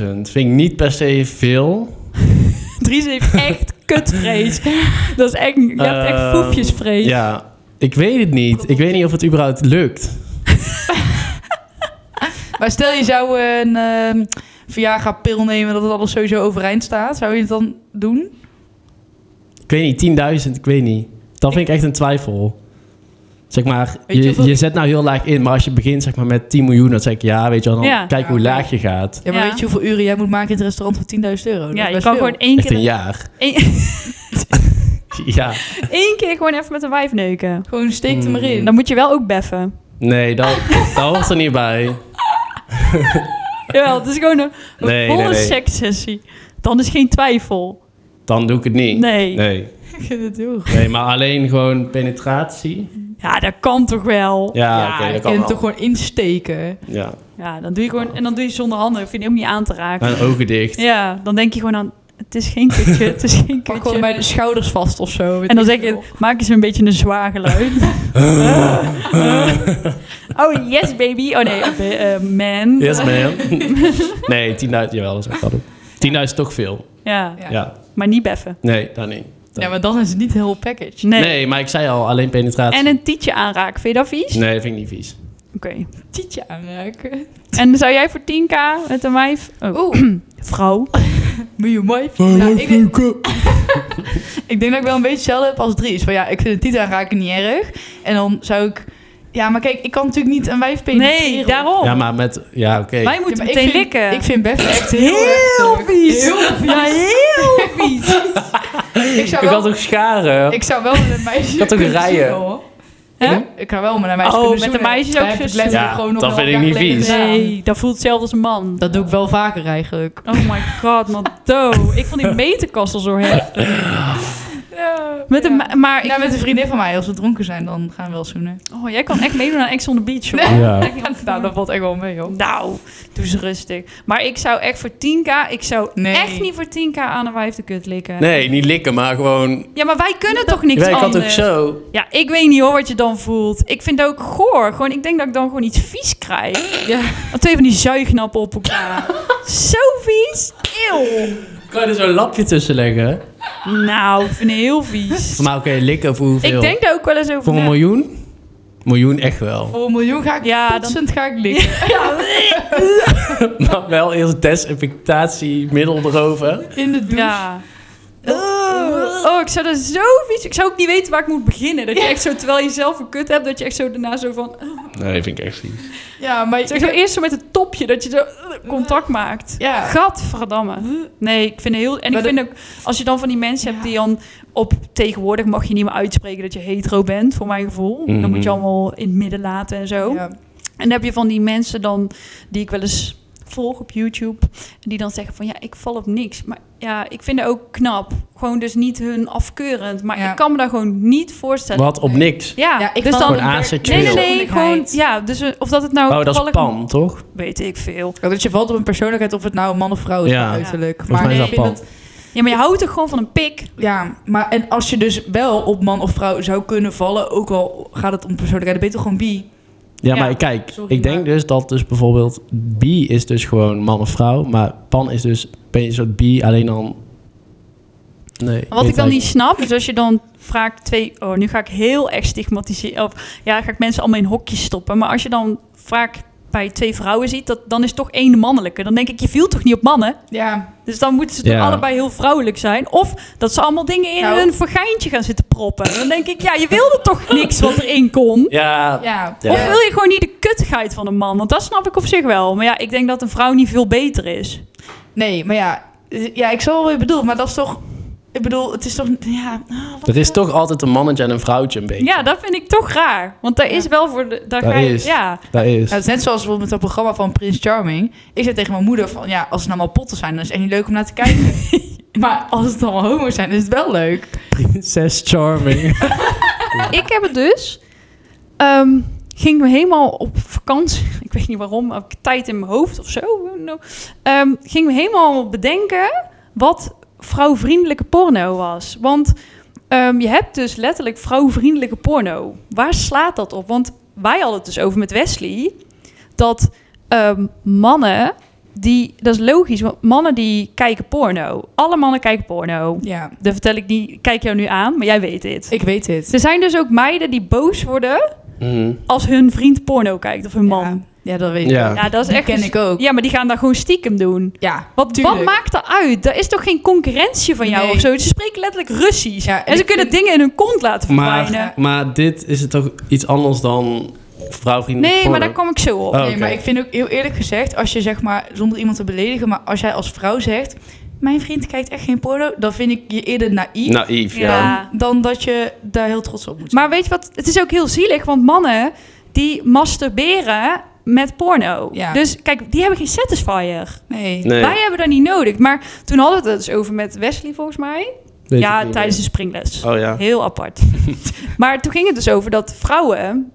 Speaker 2: 10.000 vind ik niet per se veel. *laughs*
Speaker 1: Dries heeft echt kutvrees. Dat is echt, je hebt echt
Speaker 2: Ehm,
Speaker 1: foefjesvrees.
Speaker 2: Ja, ik weet het niet. Ik weet niet of het überhaupt lukt.
Speaker 3: Maar stel je zou een ehm Viagra-pil nemen dat het alles sowieso overeind staat. Zou je het dan doen?
Speaker 2: Ik weet niet, 10.000, ik weet niet. Dat vind ik echt een twijfel. Zeg maar,
Speaker 3: Weet je
Speaker 2: je,
Speaker 3: hoeveel-
Speaker 2: je zet nou heel laag in, maar als je begint zeg maar, met 10 miljoen, dan zeg ik ja, weet je wel, dan
Speaker 1: Ja.
Speaker 2: kijk hoe
Speaker 3: Ja.
Speaker 2: laag je gaat.
Speaker 3: Ja, maar
Speaker 1: Ja.
Speaker 3: weet je hoeveel uren jij moet maken in het restaurant voor 10.000 euro? Dat
Speaker 1: Ja,
Speaker 3: is
Speaker 1: je
Speaker 3: best
Speaker 1: kan
Speaker 3: veel.
Speaker 1: gewoon één
Speaker 2: Echt
Speaker 1: keer,
Speaker 2: een jaar.
Speaker 1: één, *laughs*
Speaker 2: *laughs* Ja,
Speaker 1: één keer gewoon even met een wijf neuken.
Speaker 3: Gewoon steek er maar
Speaker 2: Mm.
Speaker 3: in.
Speaker 1: Dan moet je wel ook beffen.
Speaker 2: nee, dat, dat was er niet bij.
Speaker 1: Jawel, het is gewoon een, een
Speaker 2: Nee,
Speaker 1: volle
Speaker 2: nee, nee.
Speaker 1: sekssessie. Dan is geen twijfel.
Speaker 2: Dan doe ik het niet.
Speaker 1: Nee.
Speaker 2: Nee,
Speaker 3: Ik vind het heel goed.
Speaker 2: Nee, maar alleen gewoon penetratie.
Speaker 1: Ja, dat kan toch wel?
Speaker 2: Ja,
Speaker 3: Ja,
Speaker 2: oké,
Speaker 3: je
Speaker 2: dat
Speaker 3: kan
Speaker 2: kan
Speaker 3: hem
Speaker 2: wel.
Speaker 3: toch gewoon insteken.
Speaker 2: Ja.
Speaker 1: Ja, dan doe je gewoon, en dan doe je zonder handen. Vind je ook niet aan te raken.
Speaker 2: En ogen dicht.
Speaker 1: Ja, dan denk je gewoon aan, het is geen kutje, het is geen
Speaker 3: Pak gewoon
Speaker 1: kutje.
Speaker 3: bij de schouders vast of zo. weet
Speaker 1: En dan
Speaker 3: ik
Speaker 1: zeg
Speaker 3: veel.
Speaker 1: je, maak eens een beetje een zwaar
Speaker 3: *laughs*
Speaker 1: geluid. oh, yes baby. Oh nee, eh, eh, man.
Speaker 2: Yes,
Speaker 1: *laughs*
Speaker 2: ma'am. nee, 10.000, jawel, dat is echt wel doen. 10.000 is toch veel.
Speaker 1: Ja,
Speaker 3: Ja.
Speaker 2: Ja.
Speaker 1: maar niet beffen.
Speaker 2: Nee, dat niet.
Speaker 3: Ja, maar dan is het niet heel package.
Speaker 1: Nee.
Speaker 2: Nee. maar ik zei al, alleen penetratie.
Speaker 1: En een tietje aanraken, vind je dat vies?
Speaker 2: Nee, dat vind ik niet vies.
Speaker 1: Oké.
Speaker 3: Tietje aanraken.
Speaker 1: En zou jij voor 10k met een wijf... Oh,
Speaker 3: Oeh,
Speaker 1: vrouw.
Speaker 3: moet je mooi. Ja,
Speaker 1: Nou,
Speaker 3: ik, denk, ik denk dat ik wel een beetje hetzelfde heb als Dries. Van ja, ik vind het tieten aanraken niet erg. En dan zou ik... Ja, maar kijk, ik kan natuurlijk niet een wijf penetreren.
Speaker 1: Nee, daarom.
Speaker 2: Ja, maar met... Ja, oké.
Speaker 1: Wij
Speaker 3: Ja,
Speaker 1: moeten
Speaker 3: maar
Speaker 1: meteen
Speaker 3: ik vind,
Speaker 1: likken.
Speaker 3: Ik vind best echt heel,
Speaker 1: heel
Speaker 3: erg
Speaker 1: vies.
Speaker 3: Heel
Speaker 1: Ja, heel vies.
Speaker 3: vies. *laughs* Ik zou
Speaker 2: Ik had
Speaker 3: wel,
Speaker 2: ook scharen.
Speaker 3: ik zou wel met een meisje
Speaker 2: had ook
Speaker 3: kunnen
Speaker 2: rijen.
Speaker 3: zoenen, hoor.
Speaker 1: Hè?
Speaker 3: Ik- Ik zou wel met een meisje
Speaker 1: Oh,
Speaker 3: kunnen
Speaker 1: met
Speaker 3: zoenen.
Speaker 1: een meisje
Speaker 3: Wij
Speaker 1: ook
Speaker 3: hebben het
Speaker 1: zo-
Speaker 3: letterlijk
Speaker 2: Ja,
Speaker 3: gewoon nog
Speaker 2: dat
Speaker 3: wel
Speaker 2: vind ik
Speaker 3: elkaar
Speaker 2: niet
Speaker 3: geleden
Speaker 2: vies.
Speaker 3: gedaan.
Speaker 1: Nee, dat voelt zelf als een man.
Speaker 3: Dat doe ik wel vaker eigenlijk.
Speaker 1: Oh my god, Mado. Ik vond die meterkast al zo heftig. Met een, ma- maar ik-
Speaker 3: Ja, Nou, met een vriendin van mij. Als we dronken zijn, dan gaan we wel zoenen.
Speaker 1: oh, jij kan echt meedoen aan Ex on the Beach, hoor. *laughs*
Speaker 2: Ja.
Speaker 3: Nou, dat valt echt wel mee, hoor.
Speaker 1: Nou, doe ze rustig. Maar ik zou echt voor 10k... Ik zou
Speaker 3: Nee.
Speaker 1: echt niet voor 10k aan een wijf de kut likken.
Speaker 2: Nee, niet likken, maar gewoon...
Speaker 1: Ja, maar wij kunnen toch niks
Speaker 2: ik had ook
Speaker 1: anders?
Speaker 2: zo...
Speaker 1: Ja, ik weet niet hoor wat je dan voelt. Ik vind het ook goor. Gewoon, ik denk dat ik dan gewoon iets vies krijg.
Speaker 3: Ja.
Speaker 1: Twee van die zuignappen
Speaker 3: *laughs*
Speaker 1: op elkaar. zo vies. Eeuw.
Speaker 2: Kan je er zo'n lapje tussen leggen?
Speaker 1: Nou, ik vind het heel vies.
Speaker 2: Maar oké, likken voor hoeveel?
Speaker 1: Ik denk daar ook wel eens over
Speaker 2: Voor een
Speaker 1: na.
Speaker 2: miljoen? Miljoen echt
Speaker 1: *laughs*
Speaker 2: wel.
Speaker 3: Voor een miljoen ga ik
Speaker 1: Ja,
Speaker 3: ja,
Speaker 1: dan-
Speaker 3: ga ik likken.
Speaker 2: Maar wel eerst een desinfectatiemiddel erover.
Speaker 3: In de douche.
Speaker 1: Ja. Oh, oh, ik zou dat zo vies... Ik zou ook niet weten waar ik moet beginnen. Dat je echt zo, terwijl je zelf een kut hebt, dat je echt zo daarna zo van...
Speaker 2: Nee, vind ik echt vies.
Speaker 3: Ja, maar...
Speaker 1: Zeg zo eerst zo met het topje, dat je zo eh, contact maakt.
Speaker 3: Ja.
Speaker 1: Gadverdamme. Nee, ik vind het heel... En
Speaker 3: Maar
Speaker 1: ik
Speaker 3: de-
Speaker 1: vind ook, als je dan van die mensen hebt die dan op tegenwoordig mag je niet meer uitspreken dat je hetero bent, voor mijn gevoel. Dan
Speaker 2: Mhm.
Speaker 1: moet je allemaal in het midden laten en zo.
Speaker 3: Ja.
Speaker 1: En dan heb je van die mensen dan, die ik wel eens volg op YouTube, die dan zeggen van ja, ik val op niks. Maar ja, ik vind het ook knap. Gewoon dus niet hun afkeurend. Maar
Speaker 3: Ja.
Speaker 1: ik kan me daar gewoon niet voorstellen.
Speaker 2: Wat op niks.
Speaker 1: Ja,
Speaker 3: Ja, ik
Speaker 1: dus
Speaker 3: val
Speaker 1: dan...
Speaker 2: Gewoon
Speaker 1: Nee,
Speaker 2: asexueel.
Speaker 1: nee, nee, gewoon,
Speaker 3: Persoonlijkheid.
Speaker 1: ja, dus eh, of dat het nou...
Speaker 2: Oh, dat is
Speaker 1: toevallig-
Speaker 2: Pam, toch?
Speaker 1: Weet ik veel.
Speaker 3: Ja, dat je valt op een persoonlijkheid, of het nou een man of vrouw is,
Speaker 2: Ja.
Speaker 3: ja. uiterlijk.
Speaker 2: Volgens mij is
Speaker 3: ik
Speaker 2: dat
Speaker 3: vind
Speaker 2: Pam.
Speaker 3: dat-
Speaker 1: Ja, maar je houdt toch gewoon van een pik?
Speaker 3: ja, maar en als je dus wel op man of vrouw zou kunnen vallen, ook al gaat het om persoonlijkheid, dan ben je toch gewoon bi?
Speaker 2: Ja,
Speaker 1: Ja.
Speaker 2: maar kijk,
Speaker 3: Sorry,
Speaker 2: ik denk
Speaker 3: maar-
Speaker 2: dus dat dus bijvoorbeeld bi is dus gewoon man of vrouw, maar pan is dus ben je een soort bi alleen dan. Nee.
Speaker 1: Wat ik
Speaker 2: weet eigenlijk-
Speaker 1: dan niet snap, is als je dan vaak twee... Oh, nu ga ik heel erg stigmatiseren. Of ja, ga ik mensen allemaal in hokjes stoppen. Maar als je dan vaak bij twee vrouwen ziet, dat, dan is toch één de mannelijke. Dan denk ik, je viel toch niet op mannen?
Speaker 3: Ja.
Speaker 1: Dus dan moeten ze toch
Speaker 2: Ja.
Speaker 1: allebei heel vrouwelijk zijn. Of dat ze allemaal dingen in
Speaker 3: Nou.
Speaker 1: hun vergijntje gaan zitten proppen. Dan denk ik, ja, je wilde
Speaker 2: *laughs*
Speaker 1: toch niks wat erin kon?
Speaker 2: Ja,
Speaker 3: Ja.
Speaker 2: Ja.
Speaker 1: Of wil je gewoon niet de kuttigheid van een man? Want dat snap ik op zich wel. Maar ja, ik denk dat een vrouw niet veel beter is.
Speaker 3: Nee, maar ja. Ja, ik zal wel wat je bedoelt, maar dat is toch... Ik bedoel, het is toch... Ja. ah, wat-
Speaker 2: er is toch altijd een mannetje en een vrouwtje een beetje.
Speaker 1: Ja, dat vind ik toch raar. Want daar is wel voor de... Daar
Speaker 2: Daar
Speaker 1: ga je,
Speaker 2: is.
Speaker 1: Ja.
Speaker 2: Dat is.
Speaker 3: Ja, het is net zoals bijvoorbeeld met dat programma van Prins Charming. Ik zei tegen mijn moeder van, ja, als het nou maar potten zijn, dan is het echt niet leuk om naar te kijken. *laughs* maar als het allemaal homo's zijn, is het wel leuk.
Speaker 2: Prinses
Speaker 1: *laughs*
Speaker 2: Charming.
Speaker 1: Ik heb het dus. ehm, ging helemaal op vakantie. *laughs* Ik weet niet waarom. Heb ik tijd in mijn hoofd of zo. No. Ehm, ging me helemaal bedenken wat vrouwvriendelijke porno was. Want ehm, je hebt dus letterlijk vrouwvriendelijke porno. Waar slaat dat op? Want wij hadden het dus over met Wesley. Dat ehm, mannen die, dat is logisch, want mannen die kijken porno. Alle mannen kijken porno.
Speaker 3: Ja,
Speaker 1: Dat vertel ik niet, kijk jou nu aan, maar jij weet dit.
Speaker 3: ik weet dit.
Speaker 1: Er zijn dus ook meiden die boos worden
Speaker 2: Mhm.
Speaker 1: als hun vriend porno kijkt of hun man.
Speaker 3: Ja, dat weet ik.
Speaker 2: Ja.
Speaker 3: wel.
Speaker 1: Ja, dat is
Speaker 3: Die
Speaker 1: echt.
Speaker 3: ken ik ook.
Speaker 1: Ja, maar die gaan daar gewoon stiekem doen.
Speaker 3: Ja,
Speaker 1: Wat, wat
Speaker 3: Tuurlijk.
Speaker 1: maakt dat uit? Er is toch geen concurrentie van jou
Speaker 3: Nee.
Speaker 1: of zo? Ze spreken letterlijk Russisch.
Speaker 3: Ja, en
Speaker 1: en, ze
Speaker 3: ik
Speaker 1: kunnen
Speaker 3: vind-
Speaker 1: dingen in hun kont laten
Speaker 2: Maar,
Speaker 1: verdwijnen.
Speaker 2: maar dit is het toch iets anders dan vrouwvriendelijk
Speaker 1: nee, maar
Speaker 2: porno?
Speaker 1: daar kom ik zo op.
Speaker 2: Oh.
Speaker 3: Nee,
Speaker 2: oké.
Speaker 3: maar ik vind ook heel eerlijk gezegd, als je zeg maar, zonder iemand te beledigen, maar als jij als vrouw zegt, mijn vriend kijkt echt geen porno, dan vind ik je eerder naïef
Speaker 2: Naïef, ja.
Speaker 1: Ja.
Speaker 3: dan dat je daar heel trots op moet zijn.
Speaker 1: Maar weet je wat? Het is ook heel zielig, want mannen die masturberen met porno.
Speaker 3: Ja.
Speaker 1: Dus kijk, die hebben geen satisfier.
Speaker 3: nee.
Speaker 2: Nee,
Speaker 1: Wij hebben dat niet nodig. Maar toen hadden we het dus over met Wesley volgens mij.
Speaker 2: weet ik
Speaker 1: ja,
Speaker 2: niet
Speaker 1: tijdens
Speaker 2: meer.
Speaker 1: de springles.
Speaker 2: Oh ja.
Speaker 1: Heel apart. *laughs* maar toen ging het dus over dat vrouwen...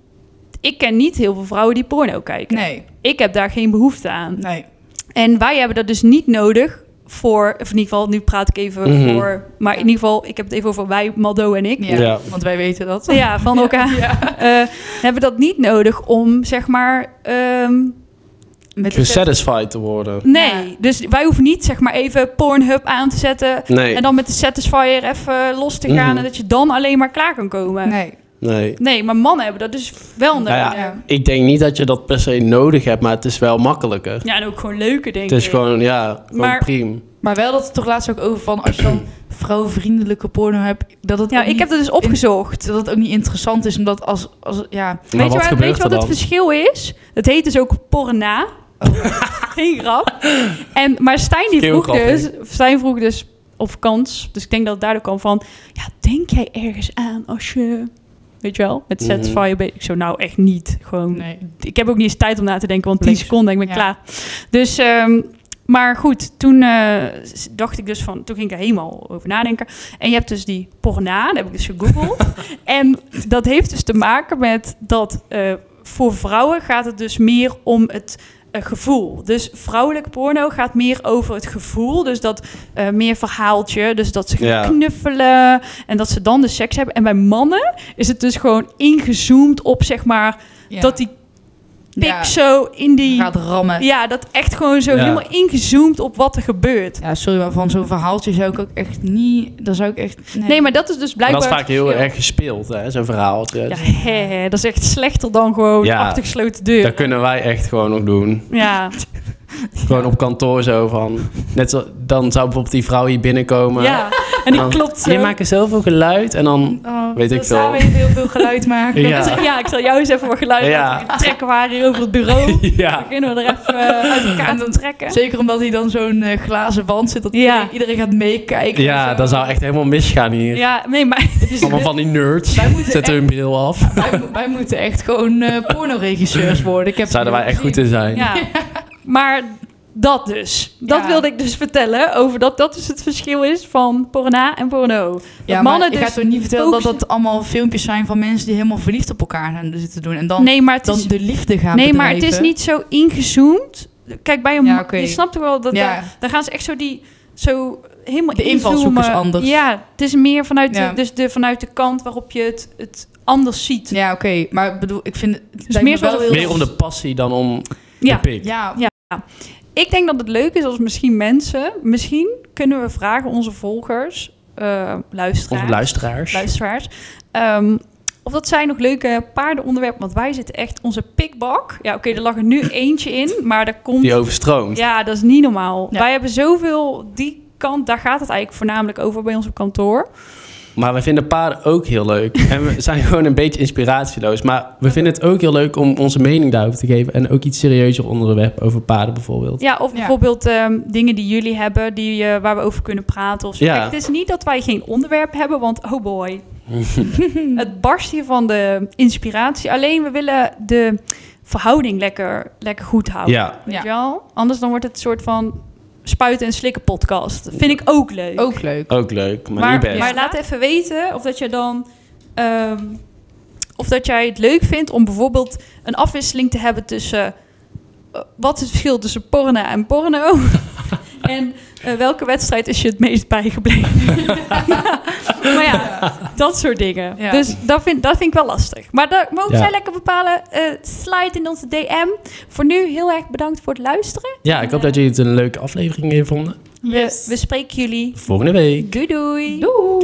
Speaker 1: Ik ken niet heel veel vrouwen die porno kijken.
Speaker 3: Nee,
Speaker 1: Ik heb daar geen behoefte aan.
Speaker 3: nee.
Speaker 1: En wij hebben dat dus niet nodig voor... Of in ieder geval, nu praat ik even
Speaker 2: Mhm.
Speaker 1: voor... Maar in ieder geval, ik heb het even over wij, Maldo en ik.
Speaker 3: Ja,
Speaker 2: Ja.
Speaker 3: Want wij weten dat.
Speaker 1: Ja, van elkaar. *laughs* Eh, hebben dat niet nodig om, zeg maar... ehm,
Speaker 3: Met
Speaker 2: Dus
Speaker 3: de set-
Speaker 2: Gesatisfied te worden.
Speaker 1: nee,
Speaker 3: Ja.
Speaker 1: dus wij hoeven niet, zeg maar, even Pornhub aan te zetten...
Speaker 2: Nee,
Speaker 1: En dan met de Satisfyer even los te gaan...
Speaker 2: Mhm.
Speaker 1: en dat je dan alleen maar klaar kan komen. Nee,
Speaker 3: Nee.
Speaker 2: nee.
Speaker 1: maar mannen hebben dat dus wel nodig.
Speaker 2: Nou Ja,
Speaker 1: ja.
Speaker 3: Ja.
Speaker 2: Ik denk niet dat je dat per se nodig hebt, maar het is wel makkelijker.
Speaker 1: en ook gewoon leuke dingen.
Speaker 2: Het is gewoon, ja, gewoon
Speaker 1: Maar-
Speaker 2: prima.
Speaker 3: Maar wel dat het toch laatst ook over van als je dan vrouwvriendelijke porno hebt, dat het,
Speaker 1: Ja,
Speaker 3: ook,
Speaker 1: ik
Speaker 3: niet,
Speaker 1: heb dat dus opgezocht.
Speaker 3: dat het ook niet interessant is, omdat als, als ja,
Speaker 2: Maar
Speaker 1: weet,
Speaker 2: wat
Speaker 1: je waar,
Speaker 2: gebeurt
Speaker 1: weet je wat
Speaker 2: er
Speaker 1: het
Speaker 2: dan?
Speaker 1: verschil is? Het heet dus ook porna.
Speaker 2: Oh.
Speaker 1: Geen grap. En, maar Stijn die vroeg
Speaker 2: Schreeuwgrap,
Speaker 1: dus, Stijn vroeg dus of kans, dus ik denk dat het daardoor kwam van, ja, denk jij ergens aan als je, weet je wel, met
Speaker 2: Mhm.
Speaker 1: Satisfy je bent? Ik zo, nou echt niet, gewoon.
Speaker 3: nee.
Speaker 1: Ik heb ook niet eens tijd om na te denken, want 10
Speaker 3: Links.
Speaker 1: seconden en ik ben
Speaker 3: Ja.
Speaker 1: klaar. Dus, ehm, maar goed, toen eh, s- dacht ik dus van, toen ging ik er helemaal over nadenken. En je hebt dus die porna, dat heb ik dus
Speaker 3: *laughs*
Speaker 1: gegoogeld. en dat heeft dus te maken met dat eh, voor vrouwen gaat het dus meer om het eh, gevoel. Dus vrouwelijk porno gaat meer over het gevoel. Dus dat eh, meer verhaaltje, dus dat ze gaan
Speaker 2: Ja.
Speaker 1: knuffelen en dat ze dan de seks hebben. En bij mannen is het dus gewoon ingezoomd op zeg maar
Speaker 3: Ja.
Speaker 1: dat die pik
Speaker 3: Ja,
Speaker 1: zo in die...
Speaker 3: gaat rammen.
Speaker 1: Ja, dat echt gewoon zo
Speaker 2: Ja.
Speaker 1: helemaal ingezoomd op wat er gebeurt.
Speaker 3: Ja, sorry, maar van zo'n verhaaltje zou ik ook echt niet. Dan zou ik echt.
Speaker 1: Nee, maar dat is dus
Speaker 2: En dat is
Speaker 1: blijkbaar...
Speaker 2: vaak heel
Speaker 1: verschil.
Speaker 2: erg gespeeld, hè, zo'n verhaal.
Speaker 1: Ja, hè, hè, dat is echt slechter dan gewoon
Speaker 2: Ja.
Speaker 1: achter gesloten deur.
Speaker 2: Dat kunnen wij echt gewoon nog doen. *laughs*
Speaker 1: Ja,
Speaker 2: Gewoon op kantoor zo van. Net zo, dan zou bijvoorbeeld die vrouw hier binnenkomen.
Speaker 1: ja. En die
Speaker 2: Dan-
Speaker 1: klopt zo.
Speaker 2: Je maakt zoveel geluid en dan.
Speaker 3: Oh,
Speaker 2: Weet ik
Speaker 3: dan Gaan we
Speaker 2: veel.
Speaker 3: even heel veel
Speaker 1: *laughs*
Speaker 3: geluid maken.
Speaker 2: Ja.
Speaker 1: Dus, *laughs* ja, ik zal jou eens even wat geluid
Speaker 2: Ja.
Speaker 1: laten trekken. We haar hier over het
Speaker 2: *laughs*
Speaker 1: bureau. Dan
Speaker 2: Ja.
Speaker 1: beginnen we er even eh, uit elkaar te trekken.
Speaker 3: Zeker omdat hij dan zo'n eh, glazen wand zit. Dat
Speaker 1: Ja.
Speaker 3: iedereen, iedereen gaat meekijken. en
Speaker 2: Ja,
Speaker 3: zo.
Speaker 2: dat zou echt helemaal misgaan hier.
Speaker 1: Ja,
Speaker 2: *laughs*
Speaker 1: nee, maar... *laughs*
Speaker 2: Allemaal van die nerds.
Speaker 3: Wij moeten
Speaker 2: Zetten hun bril
Speaker 3: *laughs*
Speaker 2: af.
Speaker 3: wij, mo- wij moeten echt gewoon eh
Speaker 2: *laughs*
Speaker 3: pornoregisseurs worden. Ik heb
Speaker 2: Zouden wij echt goed in zijn.
Speaker 1: Ja. Maar dat dus. Dat
Speaker 3: Ja.
Speaker 1: wilde ik dus vertellen. Over dat dat dus het verschil is van porna en porno.
Speaker 3: Ja,
Speaker 1: mannen
Speaker 3: mannen, ik
Speaker 1: dus
Speaker 3: ga toch niet vertellen dat
Speaker 1: focussen-
Speaker 3: dat allemaal filmpjes zijn van mensen die helemaal verliefd op elkaar gaan zitten doen. En dan,
Speaker 1: nee, maar het
Speaker 3: dan
Speaker 1: is,
Speaker 3: de liefde gaan
Speaker 1: nee, maar het is
Speaker 3: bedrijven.
Speaker 1: niet zo ingezoomd. Kijk, bij een
Speaker 3: Ja,
Speaker 1: ma-
Speaker 3: oké.
Speaker 1: je snapt toch wel dat
Speaker 3: Ja.
Speaker 1: daar, daar gaan ze echt zo die zo helemaal
Speaker 3: De invalshoek is
Speaker 1: inzoomen.
Speaker 3: anders.
Speaker 1: Ja, het is meer vanuit
Speaker 3: Ja.
Speaker 1: de, dus de vanuit de kant waarop je het, het anders ziet. Ja,
Speaker 3: Ja, oké. Maar ik bedoel, ik vind... Het lijkt me
Speaker 1: meer zoals
Speaker 3: wel
Speaker 1: een-
Speaker 3: heel-
Speaker 2: Meer om de passie dan om de pik.
Speaker 3: Ja,
Speaker 1: ik denk dat het leuk is als misschien mensen, misschien kunnen we vragen onze volgers, eh luisteraars,
Speaker 2: Onze luisteraars.
Speaker 1: luisteraars. Ehm, of dat zijn nog leuke paardenonderwerpen, want wij zitten echt onze pikbak. Ja, oké, er lag er nu eentje in, maar daar komt
Speaker 2: Die overstroomt.
Speaker 1: Ja, dat is niet normaal.
Speaker 3: Ja.
Speaker 1: Wij hebben zoveel die kant, daar gaat het eigenlijk voornamelijk over bij ons op kantoor.
Speaker 2: Maar we vinden paarden ook heel leuk. En we zijn *laughs* gewoon een beetje inspiratieloos. Maar we vinden het ook heel leuk om onze mening daarover te geven. En ook iets serieuzer onderwerp over paarden bijvoorbeeld.
Speaker 1: Ja, of bijvoorbeeld ehm, dingen die jullie hebben, die, eh, waar we over kunnen praten. Of zo.
Speaker 2: Ja.
Speaker 1: Kijk, het is niet dat wij geen onderwerp hebben, want oh boy. het barst hier van de inspiratie. Alleen we willen de verhouding lekker, lekker goed houden.
Speaker 2: Ja.
Speaker 1: Weet
Speaker 3: Ja.
Speaker 1: je wel? Anders dan wordt het een soort van spuiten en slikken podcast. Dat vind ik ook leuk.
Speaker 3: ook leuk.
Speaker 2: Ook leuk, maar, niet
Speaker 1: Maar,
Speaker 2: best.
Speaker 1: maar laat even weten of dat je dan. ehm, of dat jij het leuk vindt om bijvoorbeeld een afwisseling te hebben tussen. eh, wat is het verschil tussen porno *laughs* en porno? En eh, welke wedstrijd is je het meest bijgebleven? *laughs* Ja, maar ja, dat soort dingen.
Speaker 3: Ja.
Speaker 1: Dus dat vind, dat vind ik wel lastig. Maar dat mogen
Speaker 2: Ja.
Speaker 1: zij lekker bepalen. Eh, slide in onze DM. Voor nu heel erg bedankt voor het luisteren.
Speaker 2: Ja, ik hoop dat jullie het een leuke aflevering weer eh, vonden.
Speaker 1: We, we spreken jullie.
Speaker 2: Volgende week.
Speaker 1: Doei doei.
Speaker 3: Doei!